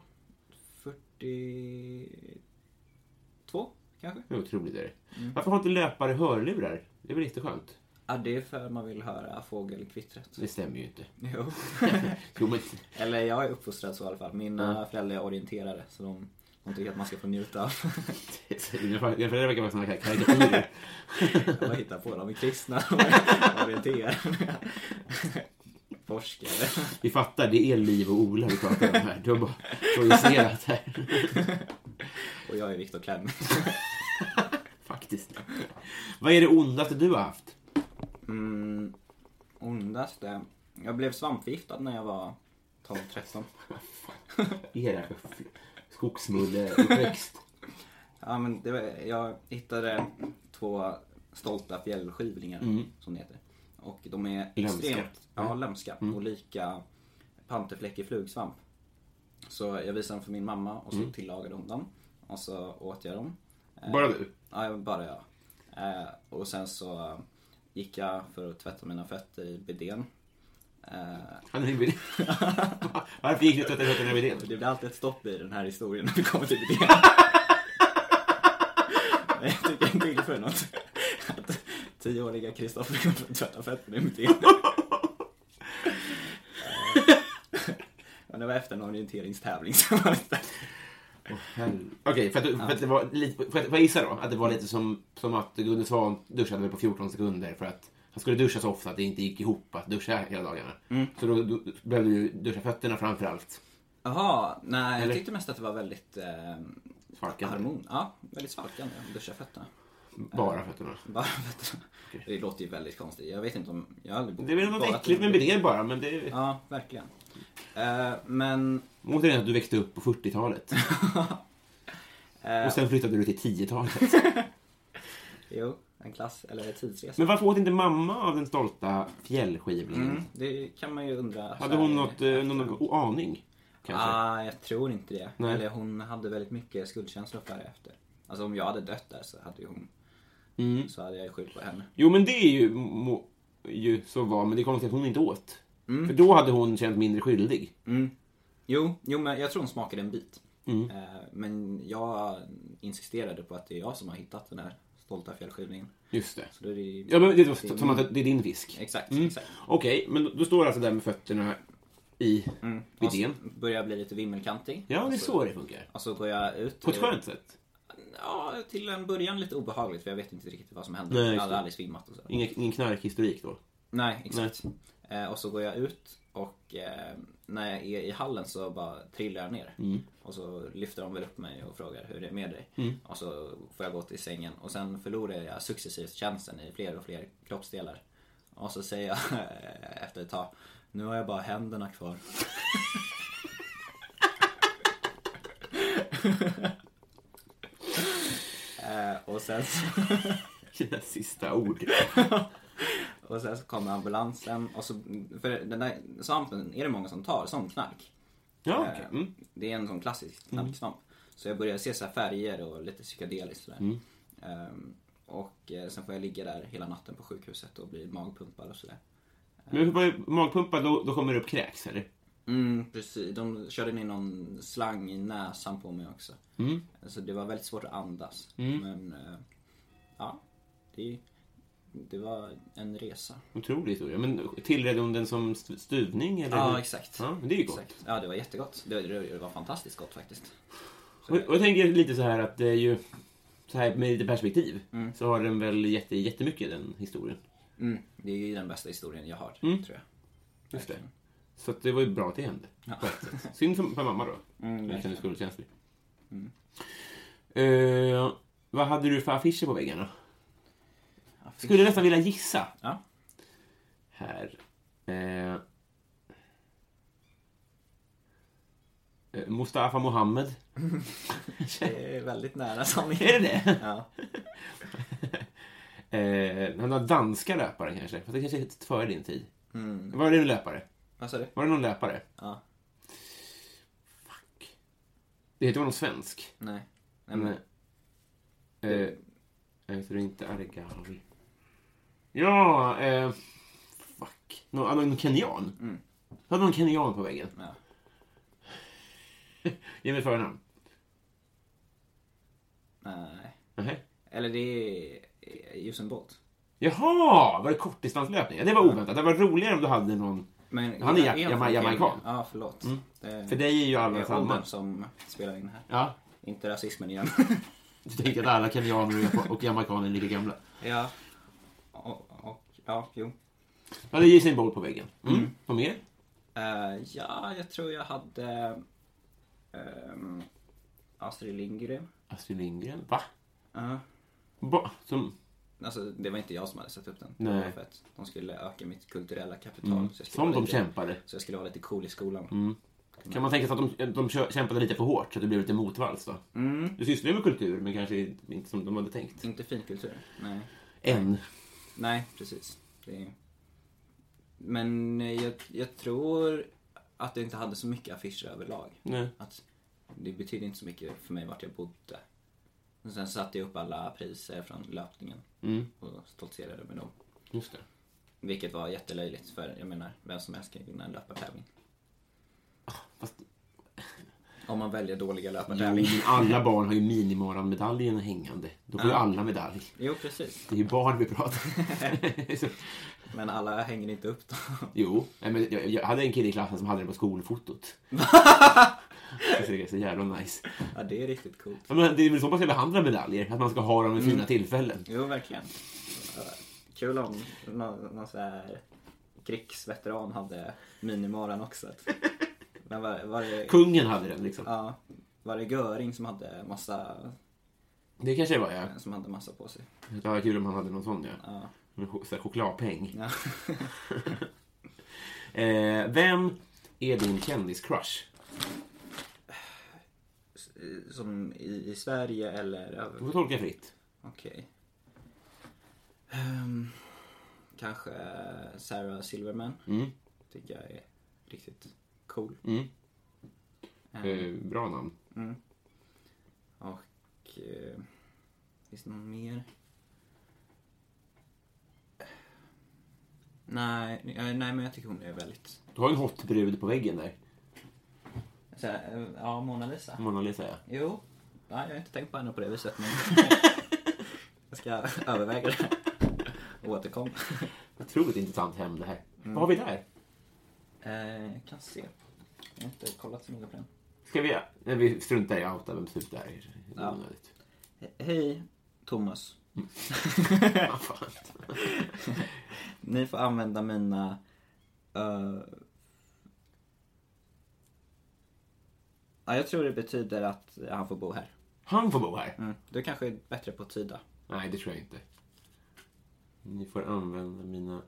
42 kanske? Det är otroligt. Är det. Mm. Varför har inte löpare hörlurar? Det är väl jätteskönt? Ja, det är för att man vill höra fågelkvittret. Det stämmer ju inte. Jo. Jo, men, Eller jag är uppfostrad så i alla fall. Mina föräldrar är orienterare så de, de tycker att man ska få njuta av det verkar vara såna här karikatyrer. vad hittar på. De är kristna och orienterare. Forskare. Vi fattar, det är liv och Ola vi pratar om här. Du har bara projicerat här. Och jag är Viktor Klem. Faktiskt. Vad är det ondaste du har haft? Mm, ondaste? Jag blev svampförgiftad när jag var 12-13. Är det här för f- skogsmulleuppväxt? Ja, men det var, jag hittade två stolta fjällskivlingar, som det heter. Och de är Lömska. extremt ja, lömska och lika panterfläckig flugsvamp. Så jag visade dem för min mamma och så tillagade hon dem. Och så åt jag dem. Bara du? Ja, jag- bara jag. Eh, och sen så gick jag för att tvätta mina fötter i bidén. Eh, Han är inbjuden. Varför gick du och tvättade fötterna med det? Det blir alltid ett stopp i den här historien när vi kommer till det. Nej, jag tycker inte illa för något. Att tioåriga Kristoffer kommer att tvätta fötterna i mitt ben. Men det var efter en orienteringstävling som var det. Okej, för, att, du- för att det var lite, för att, får jag gissa då? Att det var lite som, som att Gunde Svan duschade väl på 14 sekunder för att han skulle duscha så ofta att det inte gick ihop att duscha hela dagarna. Så då, då behövde du ju duscha fötterna framför allt. Jaha, nej Eller? jag tyckte mest att det var väldigt eh, Svalkande. harmon. Ja, väldigt svalkande. Duscha fötterna. Bara fötterna. Bara fötterna. Det låter ju väldigt konstigt. Jag vet inte om... Jag har aldrig Det är väl något badat i äckligt med en bidén bara, men det är... Ja, verkligen. Eh, men Återigen att du växte upp på 40-talet. Och sen flyttade du till 10-talet. Jo, En klass, eller en tidsresa. Men varför åt inte mamma av den stolta fjällskivlingen? Mm, det kan man ju undra. Hade hon något, eh, någon o- aning? Kanske? Ah, jag tror inte det. Nej. Eller hon hade väldigt mycket skuldkänslor för det efter. Alltså om jag hade dött där så hade ju hon... Mm. Så hade jag ju skyllt på henne. Jo, men det är ju, må, ju så var, men det är konstigt att hon inte åt. Mm. För då hade hon känt mindre skyldig. Jo, jo men jag tror hon smakade en bit. Mm. Eh, Men jag insisterade på att det är jag som har hittat den här stolta fjällskivningen. Just det. Så då är det Ja, men det var som att det är din fisk. Exakt, Mm. exakt. Okej, men då- då står du alltså där med fötterna i Och så idén. Börjar jag bli lite vimmelkantig. Ja, Och det är så det funkar. Och så går jag ut. På ett eh, skönt sätt. Ja, till en början lite obehagligt för jag vet inte riktigt vad som hände. Nej, jag just hade det. aldrig svimmat och så. Ingen, ingen knarkhistorik då. Nej, exakt. Eh, och så går jag ut och eh, när jag är i hallen så bara trillar jag ner. Och så lyfter de väl upp mig och frågar hur det är med dig. Och så får jag gå till sängen och sen förlorar jag successivt tjänsten i fler och fler kroppsdelar. Och så säger jag efter ett tag, nu har jag bara händerna kvar. eh, och sen så Dina sista ord. Och sen så kommer ambulansen och så, för den där svampen är det många som tar som knark. Ja, okej. Mm. Det är en sån klassisk knarksvamp. Så jag börjar se så här färger och lite psykedeliskt sådär. Ehm, och eh, sen får jag ligga där hela natten på sjukhuset och bli magpumpad och sådär. Men vad- magpumpa, då, då kommer det upp kräks, eller? Mm, precis. De körde ner någon slang i näsan på mig också. Så det var väldigt svårt att andas. Men eh, ja, det, det var en resa. Otrolig historia. Men tillredde hon den som st- stuvning? Eller? Ja, exakt. Ja, men det är ju gott. Exakt. Ja, det var jättegott. Det var, det var fantastiskt gott faktiskt. Och, och jag tänker lite så här att det är ju... Så här med lite perspektiv så har den väl jätte, jättemycket den historien. Mm. Det är ju den bästa historien jag har, Mm. tror jag. Just det. Så att det var ju bra att det hände. på ett sätt. Synd för, för mamma då. Mm, jag känner skuldkänslig. Eh, vad hade du för affischer på väggarna? Skulle nästan vilja gissa. Ja. Här. Eh, eh, Mustafa Mohammed. Det är väldigt nära sanningen. Är det det? Ja. Eh, han har danska löpare kanske. Fast det kanske är lite före din tid. Var det en löpare? Vad sa du? Var det någon löpare? Ja. Fuck. Det heter någon svensk. Nej. Nej, men, Nej. Eh, jag heter inte Argawi. Ja, eh, fuck. Nå, ah, någon kenyan. Mm. Hade någon kenyan på väggen? ja. Ge mig ett förnamn. Nej. Nej. Eller det är Usain Bolt. Jaha, var det kortdistanslöpning? Ja, det var oväntat. Det var roligare om du hade någon... Men, Han är ja- från jama- Kenya? jamaican. Ja, förlåt. Det, För dig är ju det alla är samma. åldern som spelar in här. Ja, Inte rasismen igen. du tänkte att alla kenyaner och jamaicaner är lika gamla. ja. Och, och, ja, jo. Du hade Usain Bolt på väggen. Mm. Vad mer? Eh, ja, jag tror jag hade ehm, Astrid Lindgren. Astrid Lindgren. Va? Ja. Ba, som, Alltså, det var inte jag som hade satt upp den. Nej. Mm. Det var För att de skulle öka mitt kulturella kapital. Så jag skulle som vara de Mm. lite, kämpade. Så jag skulle vara lite cool i skolan. Kan man tänka sig att de, de kö- kämpade lite för hårt så att det blev lite motvalls då? Du sysslar ju med kultur men kanske inte som de hade tänkt. Inte finkultur. Nej. Än. Nej, precis. Det är... Men eh, jag, jag tror att jag inte hade så mycket affischer överlag. Nej. Att det betydde inte så mycket för mig vart jag bodde. Och sen satte jag upp alla priser från löpningen Mm. och stoltserade med dem. Just det. Vilket var jättelöjligt för jag menar, vem som helst kan ju vinna en löpartävling. Ah, Fast Om man väljer dåliga jo, löpartävlingar. men alla barn har ju minimoralmedaljen hängande. Då får ju alla medalj. Jo, precis. Det är ju barn vi pratar Så- Men alla hänger inte upp dem. Jo, nej, men jag, jag hade en kille i klassen som hade det på skolfotot. Jag tycker det är så jävla nice. Ja, det är riktigt coolt. Ja, Men det är väl så man ska behandla medaljer, att man ska ha dem vid fina tillfällen. Jo, verkligen. Ja, Kul om någon, någon så här krigsveteran hade minimaran också. Men var, var det... Kungen hade den liksom. Ja, var det Göring som hade massa, Det kanske det var ja. som hade massa på sig? Det var kul om han hade någon sån ja. Ja. En ch- så här chokladpeng. Ja. Eh, vem är din kändiscrush? Som i, i Sverige eller... Du får tolka fritt. Okej. Ehm, kanske Sarah Silverman. Mm. Tycker jag är riktigt cool. Mm. Ehm, Eh, bra namn. Och... Eh, finns det någon mer? Nej, eh, nej, men jag tycker hon är väldigt... Du har ju en hot brud på väggen där. Så, här, eh, ja, Mona Lisa. Mona Lisa, ja. Jo. Nej, jag har inte tänkt på henne på det viset, men... jag ska överväga det. Och återkomma. Otroligt intressant hem det här. Mm. Vad har vi där? Eh, jag kan se. Jag har inte kollat så noga på den. Ska vi... Nej, vi struntar i att outa vem typ det här är. Ja. Ja. He- Hej, Thomas. Ja, fan. Ni får använda mina... eh, Ja, jag tror det betyder att han får bo här. Mm. Han får bo här. Du kanske är bättre på att tyda. Nej, det tror jag inte. Ni får använda mina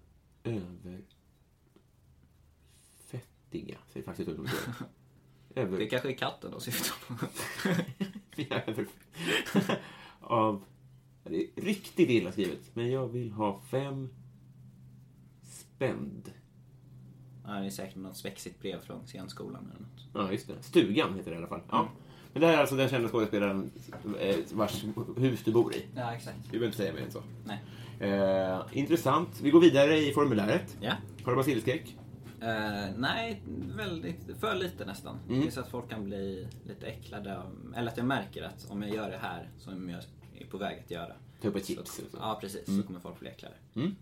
överfettiga... Ser faktiskt ut som det. Över... Det kanske är katten då syftar på. Mina över... Av... Ja, Det är riktigt illa skrivet. Men jag vill ha fem spänd. Ja, det är säkert något spexigt brev från scenskolan eller något. Ja, just det. Stugan heter det i alla fall. Ja. Men det här är alltså den kända skådespelaren eh, vars hus du bor i. Ja, exakt. Vi behöver inte säga mer än så. Nej. Eh, intressant. Vi går vidare i formuläret. Ja. Har du basilskräck? Eh, nej, väldigt, för lite nästan. Mm. Det är så att folk kan bli lite äcklade. av- Eller att jag märker att om jag gör det här som jag är på väg att göra. Ta upp ett chips. Så, och så. Mm. ja, precis. Så kommer folk bli äcklade. Ehm,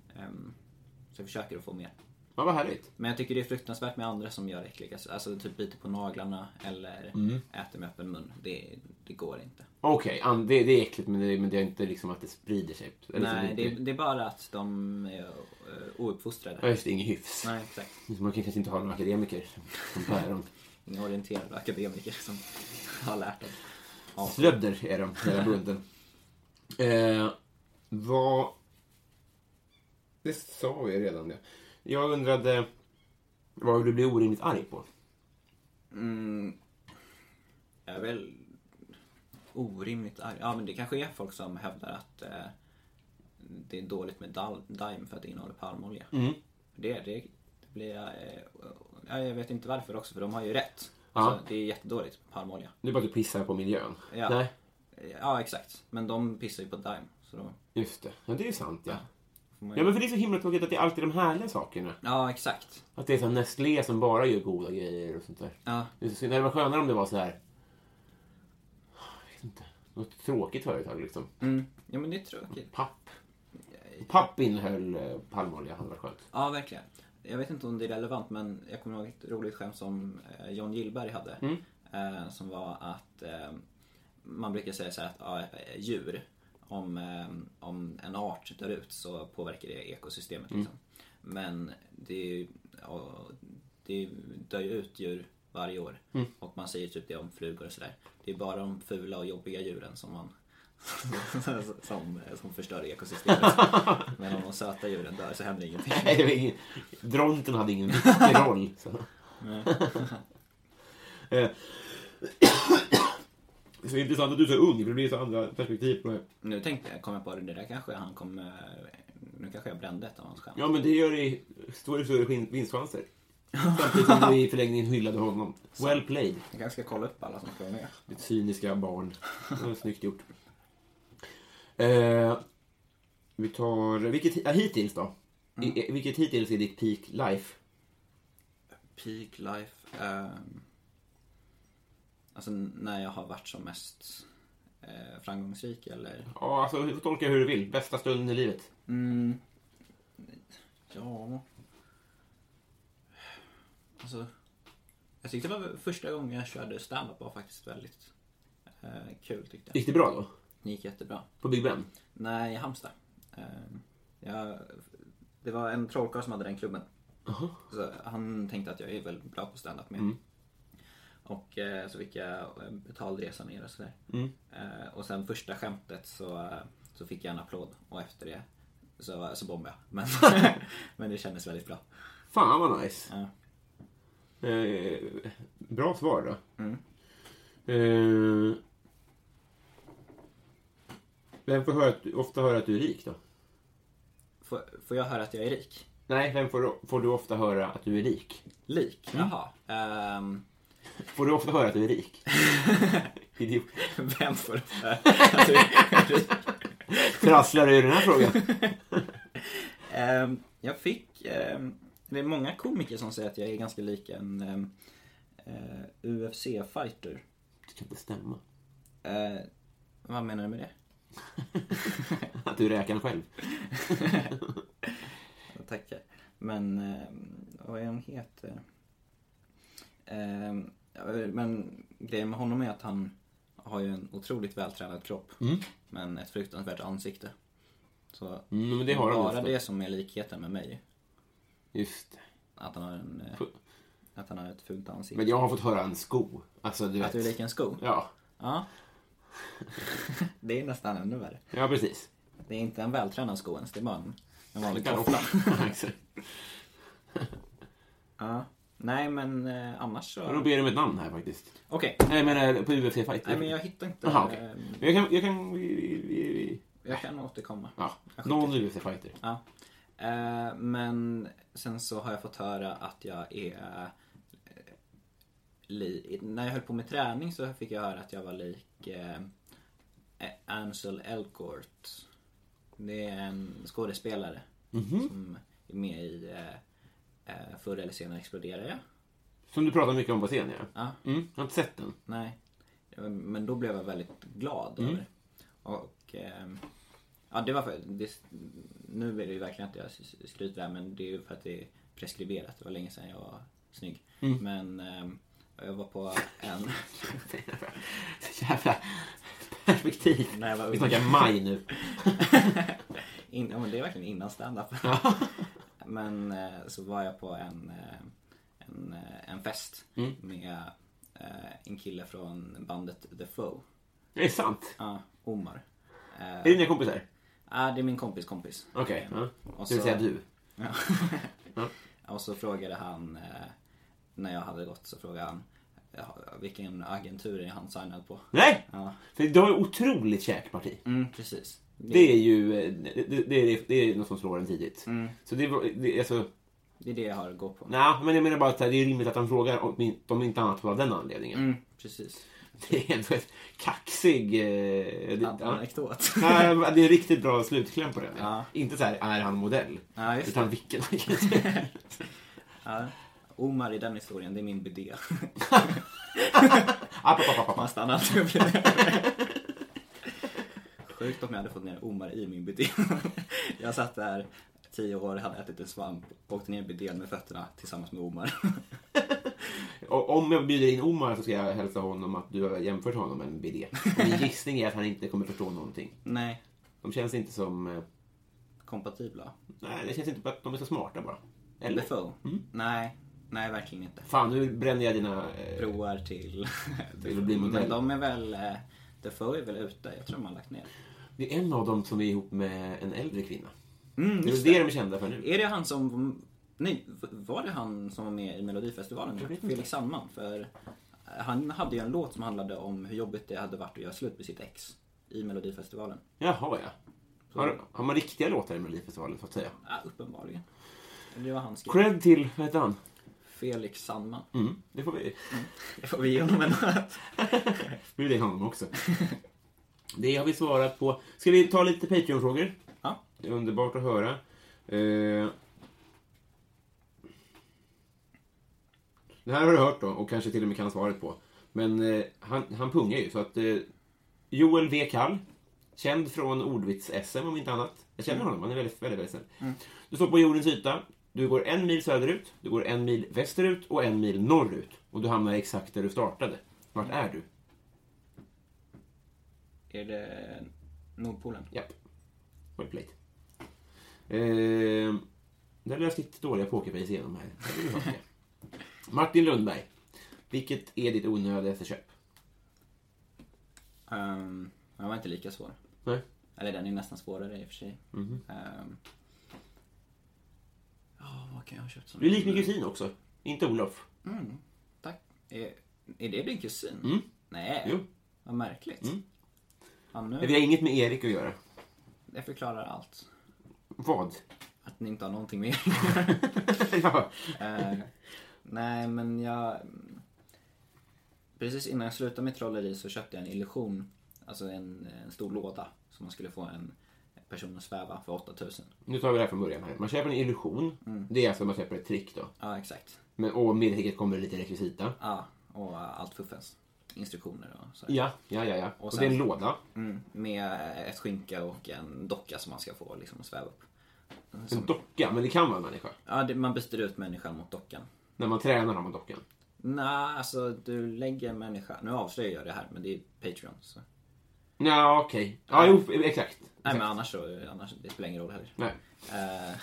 så jag försöker att få mer. Ja, vad härligt. Men jag tycker det är fruktansvärt med andra som gör äckliga Alltså typ biter på naglarna eller Mm. äter med öppen mun. Det, det går inte. Okej, an- det, det är äckligt men det, men det är inte liksom att det sprider sig. Eller så Nej, det, det... det är bara att de är eh, ouppfostrade. Ja, just det. Ingen hyfs. Nej, exakt. Man kan kanske inte ha några akademiker som- som päron. Inga orienterade akademiker som har lärt dem. Slödder är de, hela bunten. Eh, vad... Det sa vi redan, det. Jag undrade vad du blir orimligt arg på. Jag är väl orimligt arg. Ja, men det kanske är folk som hävdar att eh, det är dåligt med dal- Daim för att det innehåller palmolja. Mm. Det, det, det blir jag... Eh, ja, jag vet inte varför också, för de har ju rätt. Ja. Alltså, det är jättedåligt med palmolja. Det är bara att du pissar på miljön. Ja. Nej, Ja, exakt. Men de pissar ju på Daim. Så då just det. Ja, det är ju sant, ja. får man ju... Ja, men för det är så himla tråkigt att det är alltid de härliga sakerna. ja, exakt. Att det är så här Nestlé som bara gör goda grejer och sånt där. Ja, Det är så synd. Det hade varit skönare om det var så här... Jag vet inte. Något tråkigt företag, liksom. mm. ja men det är tråkigt. Papp. Papp innehöll eh, palmolja. Hade varit skönt. Ja, verkligen. Jag vet inte om det är relevant, men jag kommer ihåg ett roligt skämt som eh, John Gillberg hade. Eh, som var att eh, man brukar säga så här att ja, eh, djur, om, eh, om en art dör ut så påverkar det ekosystemet. Liksom. Men det, är ju- ja, det dör ju ut djur varje år. Och man säger typ det om flugor och sådär. Det är bara de fula och jobbiga djuren som man som, som förstör ekosystemet. Men om de söta djuren dör så händer ingenting. Nej, det var ingen... Dronten hade ingen viktig roll. Så. Eh, så intressant att du är så ung, för det blir så andra perspektiv på det. Nu tänkte jag, kom jag på det, det där kanske han kommer... Nu kanske jag brände ett av hans skämt. Ja, men det gör dig... Står i större skin- vinstchanser. Samtidigt som du i förlängningen hyllade honom. Well played. Jag kanske ska kolla upp alla som ska vara med. Ditt cyniska barn. Det var snyggt gjort. Eh, vi tar... Vilket, ja, hittills då? I, vilket hittills är ditt peak life? Peak life. ehm, alltså när jag har varit som mest eh, framgångsrik eller... Ja, alltså du får tolka hur du vill. Bästa stunden i livet. Mm, ja... Alltså... Jag tyckte det var första gången jag körde standup var faktiskt väldigt eh, kul tyckte jag. Gick det bra då? Det gick jättebra. På Big Ben? Nej, i Halmstad. Ehm, Jag, det var en trollkarl som hade den klubben. Så han tänkte att jag är väl bra på standup med. Och eh, så fick jag eh, betald resa ner och sådär. Eh, Och sen första skämtet så, eh, så fick jag en applåd och efter det så, så bombade jag. Men, men det kändes väldigt bra. Fan vad nice. Ja. Eh, bra svar då. Eh, vem får höra att, du- ofta höra att du är rik då? Får, får jag höra att jag är rik? Nej, vem får du, får du ofta höra att du är rik? Lik? Jaha. Ehm, Får du ofta höra att du är rik? Idiot. vem får höra att jag är rik? Trasslar du i den här frågan? Ehm, jag fick... ehm, det är många komiker som säger att jag är ganska lik en ehm, eh, UFC-fighter. Det kan inte stämma. Eh, vad menar du med det? Att du är räkan själv. Jag Tackar. Men eh, vad är han heter? Eh, ja, men grejen med honom är att han har ju en otroligt vältränad kropp. Men ett fruktansvärt ansikte. Så Mm, men det har han bara ofta. det som är likheten med mig. Just det. Att han har, en, eh, Fu- att han har ett fult ansikte. Men jag har fått höra en sko. Alltså, du Att du är vet. lik en sko? Ja. Ja. det är nästan ännu värre. ja, precis. Det är inte en vältränad sko ens, det är bara en, en vanlig Kan toffla. ofta. Exakt. Ja. Nej men eh, annars så... Jag ber dig om ett namn här faktiskt. Okej. Nej, men eh, på UFC Fight. Nej men jag hittar inte... Jaha, okej. eh, Men Jag kan... Jag kan... Vi, vi, vi, vi. Jag kan återkomma. Ja, någon UFC Fighter. Ja. Eh, men sen så har jag fått höra att jag är... eh, Li- när jag höll på med träning så fick jag höra att jag var lik eh, A- Ansel Elgort. Det är en skådespelare som är med i eh, eh, Förr eller senare exploderar jag. Som du pratar mycket om på scen, ja. Ja. Mm, jag har inte sett den. Nej. Men då blev jag väldigt glad Mm. över det. Och ehm, ja, det var för, det, Nu är det ju verkligen att jag s- skryter där men det är ju för att det är preskriberat. Det var länge sedan jag var snygg. Mm. Men ehm, jag var på en... Så jävla perspektiv. När jag var Vi ung. snackar maj nu. In, ja, men det är verkligen innan stand-up. men eh, så var jag på en, eh, en, eh, en fest Mm. med eh, en kille från bandet The Flow. Det är sant. Ja, Omar. Eh, Är det dina kompisar? ah, det är min kompis kompis. Okej. ja. Och Det vill så- säga du. Ja. Och så frågade han, eh, när jag hade gått så frågade han ja, vilken agentur är han signad på? Nej! Ja, För du har ju otroligt käkparti. mm, precis. Det är ju eh, det, det, det, är, det är något som slår en tidigt. Mm. Så det, var- det är alltså, Det är det jag har att gå på. nej, men jag menar bara att så här, det är rimligt att han frågar om, om inte annat av den anledningen. Mm, precis. Det är ändå ett kaxig... Eh, det, ja. Anekdot. Nej, men det är en riktigt bra slutkläm på den. Ja. Inte så här, är han modell? Ja, just utan vilken agentur? Ja. Omar i den historien, det är min bidé. App, app, app, app, Man app. stannar alltid upp lite. Sjukt om jag hade fått ner Omar i min bidé. Jag satt där tio år, hade ätit en svamp, åkte ner i bidén med fötterna tillsammans med Omar. Och Om jag bjuder in Omar så ska jag hälsa honom att du har jämfört honom med en bidé. Och Min gissning är att han inte kommer förstå någonting. Nej, De känns inte som... eh, kompatibla. Nej, det känns inte att de är så smarta bara. Eller? Mm. LFO? Nej, nej verkligen inte. Fan, nu bränner jag dina... Eh, Broar till... Vill du bli modell? Men de är väl... eh, Defoe är väl ute, jag tror de har lagt ner. det är en av dem som är ihop med en äldre kvinna. det är väl det de är kända för nu. Är Mm, det han som... Nej, v- var det han som var med i Melodifestivalen? vet inte. Felix Sandman? För eh, han hade ju en låt som handlade om hur jobbigt det hade varit att göra slut med sitt ex i Melodifestivalen. Jaha, ja. Har, har man riktiga låtar i Melodifestivalen, så att säga? Ja, uppenbarligen. Det var han skrev. Cred till, vad heter han? Felix Sandman. Mm, det får vi... Det får vi ge honom en bjuda in honom också. Det har vi svarat på. Ska vi ta lite Patreon-frågor? Ja. Det är underbart att höra. Eh, Det här har du hört då och kanske till och med kan svaret på. Men eh, han, han pungar ju så att eh, Joel V. Kall, känd från ordvits-SM om inte annat. Jag känner honom, han är väldigt, väldigt, väldigt snäll. Du står på jordens yta. Du går en mil söderut, du går en mil västerut och en mil norrut. Och du hamnar exakt där du startade. Vart är du? Är det Nordpolen? Japp. Well played. Eh, där löste ditt dåliga pokerface igenom här. Det vill jag ha. Martin Lundberg. Vilket är ditt onödigaste köp? Um, den var inte lika svår. Nej. Eller den är nästan svårare i och för sig. Mhm. Ehm. Ja, vad kan jag ha köpt som... Du är lik min kusin också. Inte Olof. Tack. Är, är det din kusin? Nej. Mm. Jo. Mm. Vad märkligt. Ja, Vi nu, har inget med Erik att göra. det förklarar allt. Vad? Att ni inte har någonting mer. ja. Eh, nej, men jag... Precis innan jag slutade med trolleri så köpte jag en illusion. Alltså en, en stor låda som man skulle få en person att sväva för 8000. Nu tar vi det här från början. här. Man köper en illusion. Det är alltså man köper ett trick då. Ja, exakt. Men, och med tricket kommer det lite rekvisita. Ja, och eh, allt fuffens. Instruktioner och sådär. Ja, ja, ja. ja. Och, sen- det är en låda. Mm, med ett skynke och en docka som man ska få liksom att sväva upp. En docka, men det kan vara en människa. Ja, det, man byter ut människan mot dockan. När man tränar har man dockan. Nej, alltså du lägger en människa... Nu avslöjar jag det här, men det är Patreon. Så. Ja, okej. Ja, jo, exakt. Nej, men exakt. annars så... Annars, det spelar ingen roll heller. Nej. Eh,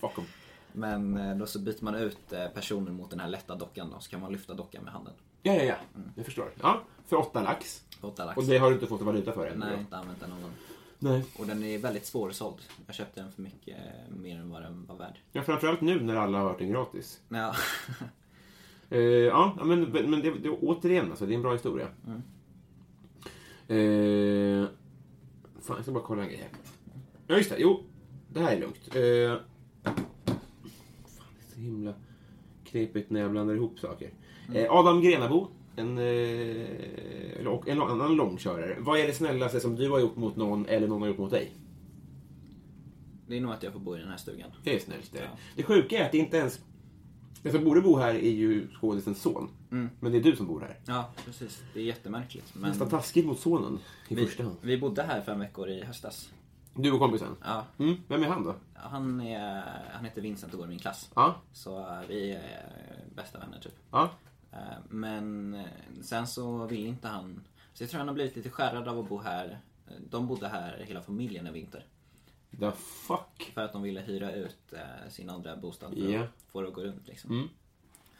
Fuck 'em. men eh, då så byter man ut eh, personen mot den här lätta dockan då, så kan man lyfta dockan med handen. Ja, ja, ja. Mm. Jag förstår. Ja, för åtta lax. På åtta lax. Och det har du inte fått valuta för än? Nej, jag har då? inte använt den någon gång. Nej. Och den är väldigt svårsåld. Jag köpte den för mycket eh, mer än vad den var värd. Ja, framförallt nu när alla har hört den gratis. Men ja, Eh, ja, ja, men, men det, det, återigen, alltså, det är en bra historia. Eh, fan, jag ska bara kolla en grej här. Ja, just det. Jo, det här är lugnt. Eh, fan, det är så himla knepigt när jag blandar ihop saker. Eh, Adam Grenabo, en, eh, eller- och en annan långkörare. Vad är det snällaste som du har gjort mot någon eller någon har gjort mot dig? det är nog att jag får bo i den här stugan. Det är snällt. Det, Ja. det sjuka är att det inte ens... Den som borde bo här är ju skådisens son. Men det är du som bor här. Ja, precis. Det är jättemärkligt. Men Nästan taskigt mot sonen i vi, första hand. vi bodde här fem veckor i höstas. Du och kompisen? Ja, Mm. Vem är han då? han, är, han heter Vincent och går i min klass. Ja, Så eh, vi är bästa vänner typ. ja. Eh, Men eh, sen så vill inte han... Så jag tror han har blivit lite skärrad av att bo här. Eh, De bodde här hela familjen en vinter. The fuck. För att de ville hyra ut eh, sin andra bostad för Ja. Mm. att få det att gå runt liksom.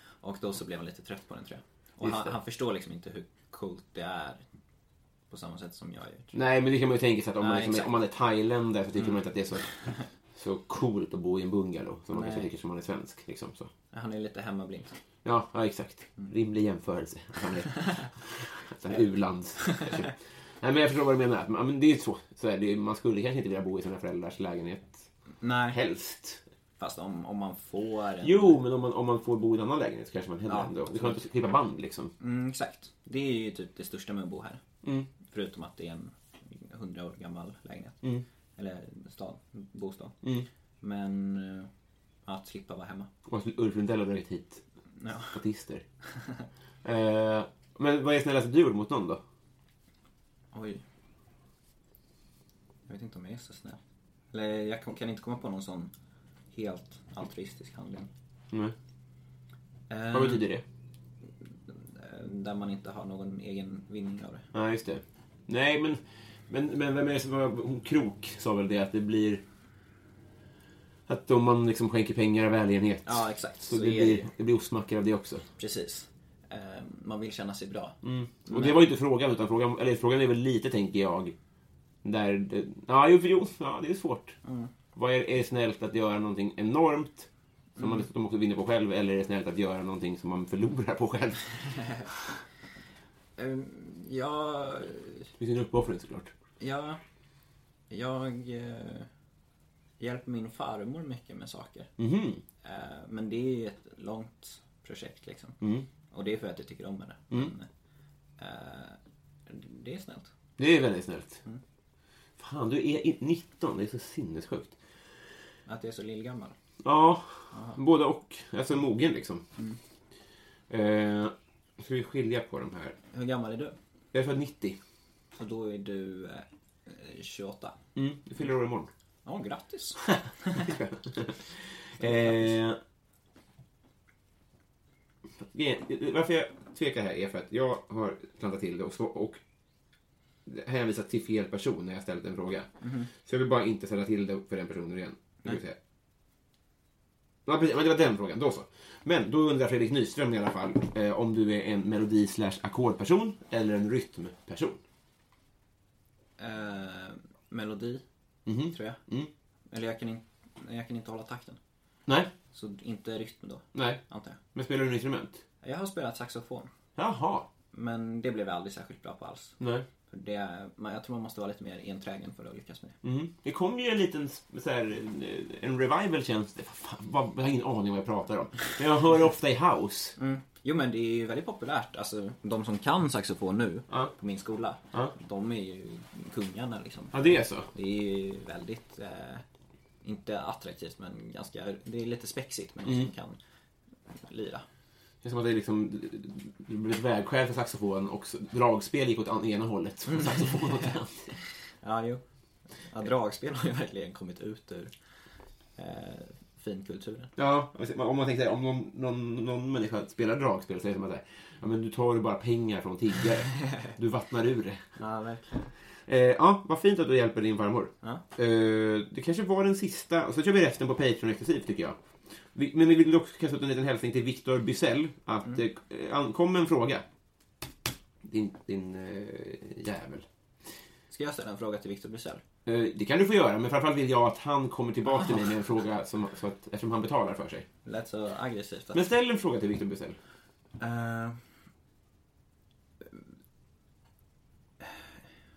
Och då så blev han lite trött på den tror jag. Och Just han, det. han förstår liksom inte hur coolt det är. På samma sätt som jag gör. Nej, men det kan man ju tänka sig att om, man, Nej, liksom, är- exakt. Mm. om man är thailändare så tycker man inte att det är så, så coolt att bo i en bungalow. Som man kanske Nej. tycker som man är svensk. Liksom, så. Han är lite hemmablind. Ja, ja, exakt. Mm. Rimlig jämförelse. Att han är att han är u-lands. Nej, men jag förstår vad du menar. Att man- Men det är så. så är det, man skulle kanske inte vilja bo i sina föräldrars lägenhet. Nej. Helst. Fast om, om man får en... Jo, men om man, om man får bo i en annan lägenhet så kanske man hellre Ja, ändå. Det kan inte klippa band liksom. Mm, exakt. Det är ju typ det största med att bo här. Mm. Förutom att det är en 100 år gammal lägenhet. Eller stad, bostad. Mm. Men eh, att slippa vara hemma. Och att Ulf Lundell har dragit hit Ja. statister. eh, men vad är snällaste du gjort mot någon då? Oj. Jag vet inte om jag är så snäll. Eller jag kan, kan inte komma på någon sån helt altruistisk handling. Mm. Eh, Vad betyder det? eh, Där man inte har någon egen vinning av det. Nej, just det. Nej, men, men, men vem är det som... var- Hon Krok sa väl det att det blir... Att om man liksom skänker pengar och välgörenhet Ja, exakt. så, Så, det, är det ju. blir, det blir ostmackor av det också. Precis. Eh, Man vill känna sig bra. Och det var ju inte frågan, utan frågan, eller frågan är väl lite, tänker jag, där... det- Ja, jo, för- jo, ja det är svårt. Vad är, är det snällt att göra någonting enormt som man dessutom också vinner på själv, eller är det snällt att göra någonting som man förlorar på själv? Eh, Jag Det finns ju en Liksom uppoffring såklart. Ja, jag eh, hjälper min farmor mycket med saker. Mhm. Eh, men det är ju ett långt projekt liksom. Mm. Och det är för att jag tycker om henne. Men, eh, det är snällt. Det är väldigt snällt. Fan, du är i- 19. Det är så sinnessjukt. Att jag är så lillgammal. Ja, både och. Alltså mogen liksom. Eh, ska vi skilja på de här? Hur gammal är du? Jag är född 90. Och då är du eh, eh, 28. Mm. Du fyller år imorgon. Ja, grattis! Eh, grejen- Eh, varför jag tvekar här är för att jag har klantat till det och, så- och hänvisat till fel person när jag ställt en fråga. Så jag vill bara inte ställa till det för den personen igen. Det vill säga- Ja, precis, men det var den frågan. Då så. Men då undrar Fredrik Nyström i alla fall eh, om du är en melodi slash ackordperson eller en rytmperson. Eh, melodi, Mhm. tror jag. Mm. Eller jag kan, in, jag kan inte hålla takten. Nej, Så inte rytm då, nej. antar jag. Men spelar du en instrument? Jag har spelat saxofon. Jaha. Men det blev jag aldrig särskilt bra på alls. Nej. För det, man, jag tror man måste vara lite mer enträgen för att lyckas med det. Mm. Det kom ju en liten så här, en revival känns det. Fan, vad- jag har ingen aning vad jag pratar om. Men jag hör ofta i house. Jo men det är ju väldigt populärt. Alltså, de som kan saxofon nu Ja. på min skola, Ja. de är ju kungarna liksom. Ja, det är så. Det är ju väldigt, eh, inte attraktivt men ganska, det är lite spexigt men mm. kan lira. Det är som att det liksom det blev ett vägskäl för saxofon och s- dragspel gick åt an- ena hållet. och Saxofon åt andra. Ja, jo. Ja, dragspel har ju verkligen kommit ut ur eh, finkulturen. Ja, om man tänker så här, om någon, någon, någon människa spelar dragspel så är det som att så här, ja, men du tar ju bara pengar från tiggare. Du vattnar ur det. Ja, verkligen. Eh, ja, vad fint att du hjälper din farmor. Ja. Eh, det kanske var den sista, och så kör vi resten på Patreon exklusivt tycker jag. Vi, men vi vill också kasta ut en liten hälsning till Viktor Bysell att Mm. eh, ankom en fråga. Din, din eh, jävel. Ska jag ställa en fråga till Victor Bysell? Eh, det kan du få göra, men framförallt vill jag att han kommer tillbaka till mig med en fråga som, så att, eftersom han betalar för sig. Det lät så aggressivt. Att, Men ställ en fråga till Viktor Bysell. Eh, ja,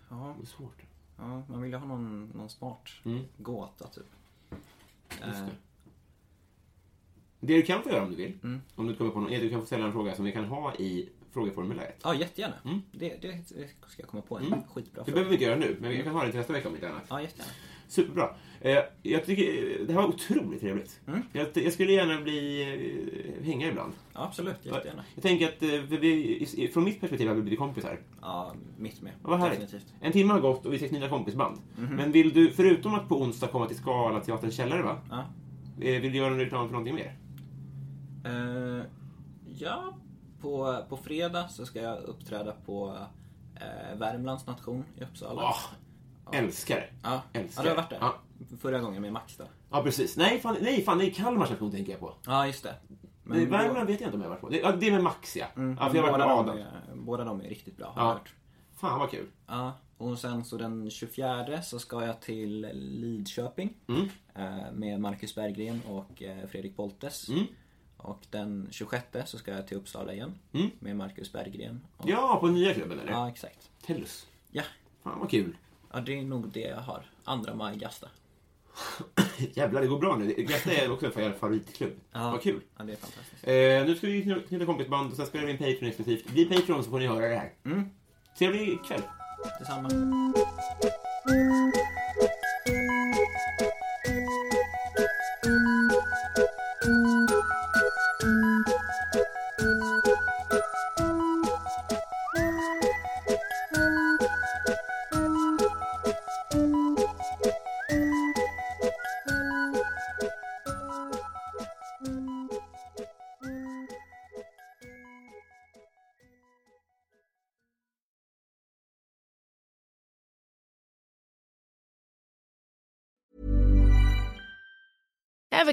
Det är svårt. ja, man vill ju ha någon, någon smart gåta typ. Mm. Just Eh, det. det du kan få göra om du vill, Mm. om du kommer på någon, är att du kan få ställa en fråga som vi kan ha i frågeformuläret. Ja, jättegärna. Det, det ska jag komma på en skitbra Mm. Det fråga. behöver vi inte göra nu, men vi kan ha det till nästa vecka om inte annat. Ja, jättegärna. Superbra. Eh, jag tycker eh, det här var otroligt trevligt. Mm. Jag, jag skulle gärna bli eh, hänga ibland. Ja, absolut, jättegärna. Jag tänker att eh, för vi, i- från mitt perspektiv har vi blivit kompisar. Ja, mitt med. Vad härligt. Definitivt. Mhm. En timme har gått och vi fick nya kompisband. Men vill du, förutom att på onsdag komma till Skala teaterns källare, va? Ja. Eh, vill du göra en reklam för någonting mer? Eh, ja, på, på fredag så ska jag uppträda på eh, Värmlands nation i Uppsala. Ah, Älskar det. ja. ja, älskar du har varit där. Ja. Förra gången med Max då. Ja, precis. Nej, fan, nej, fan, det är Kalmars nation tänker jag på. Ja, just det. Men Mm. Men Värmland vet jag inte om jag har varit på. Det, ja, det är med Max, ja. ja för jag har varit båda, med de Adam. är, båda de är riktigt bra. Ja. Ja. Fan, vad kul. ja. Och sen så den 24 så ska jag till Lidköping Mm. eh, med Marcus Berggren och eh, Fredrik Boltes. Mm. Och den 26 så ska jag till Uppsala igen Mm. med Marcus Berggren. Och, Ja, på nya klubben, eller? ja, exakt. Tellus. Ja, Fan, vad kul. Ja, det är nog det jag har. Andra maj, Gasta. Jävlar, det går bra nu. Gästa är också en favoritklubb. Vad kul. Ja, det är fantastiskt. Eh, nu ska vi kny- knyta kompisband och sen spelar vi in Patreon exklusivt. Bli Patreon så får ni höra det här. Mm. Trevlig kväll. Detsamma. Ever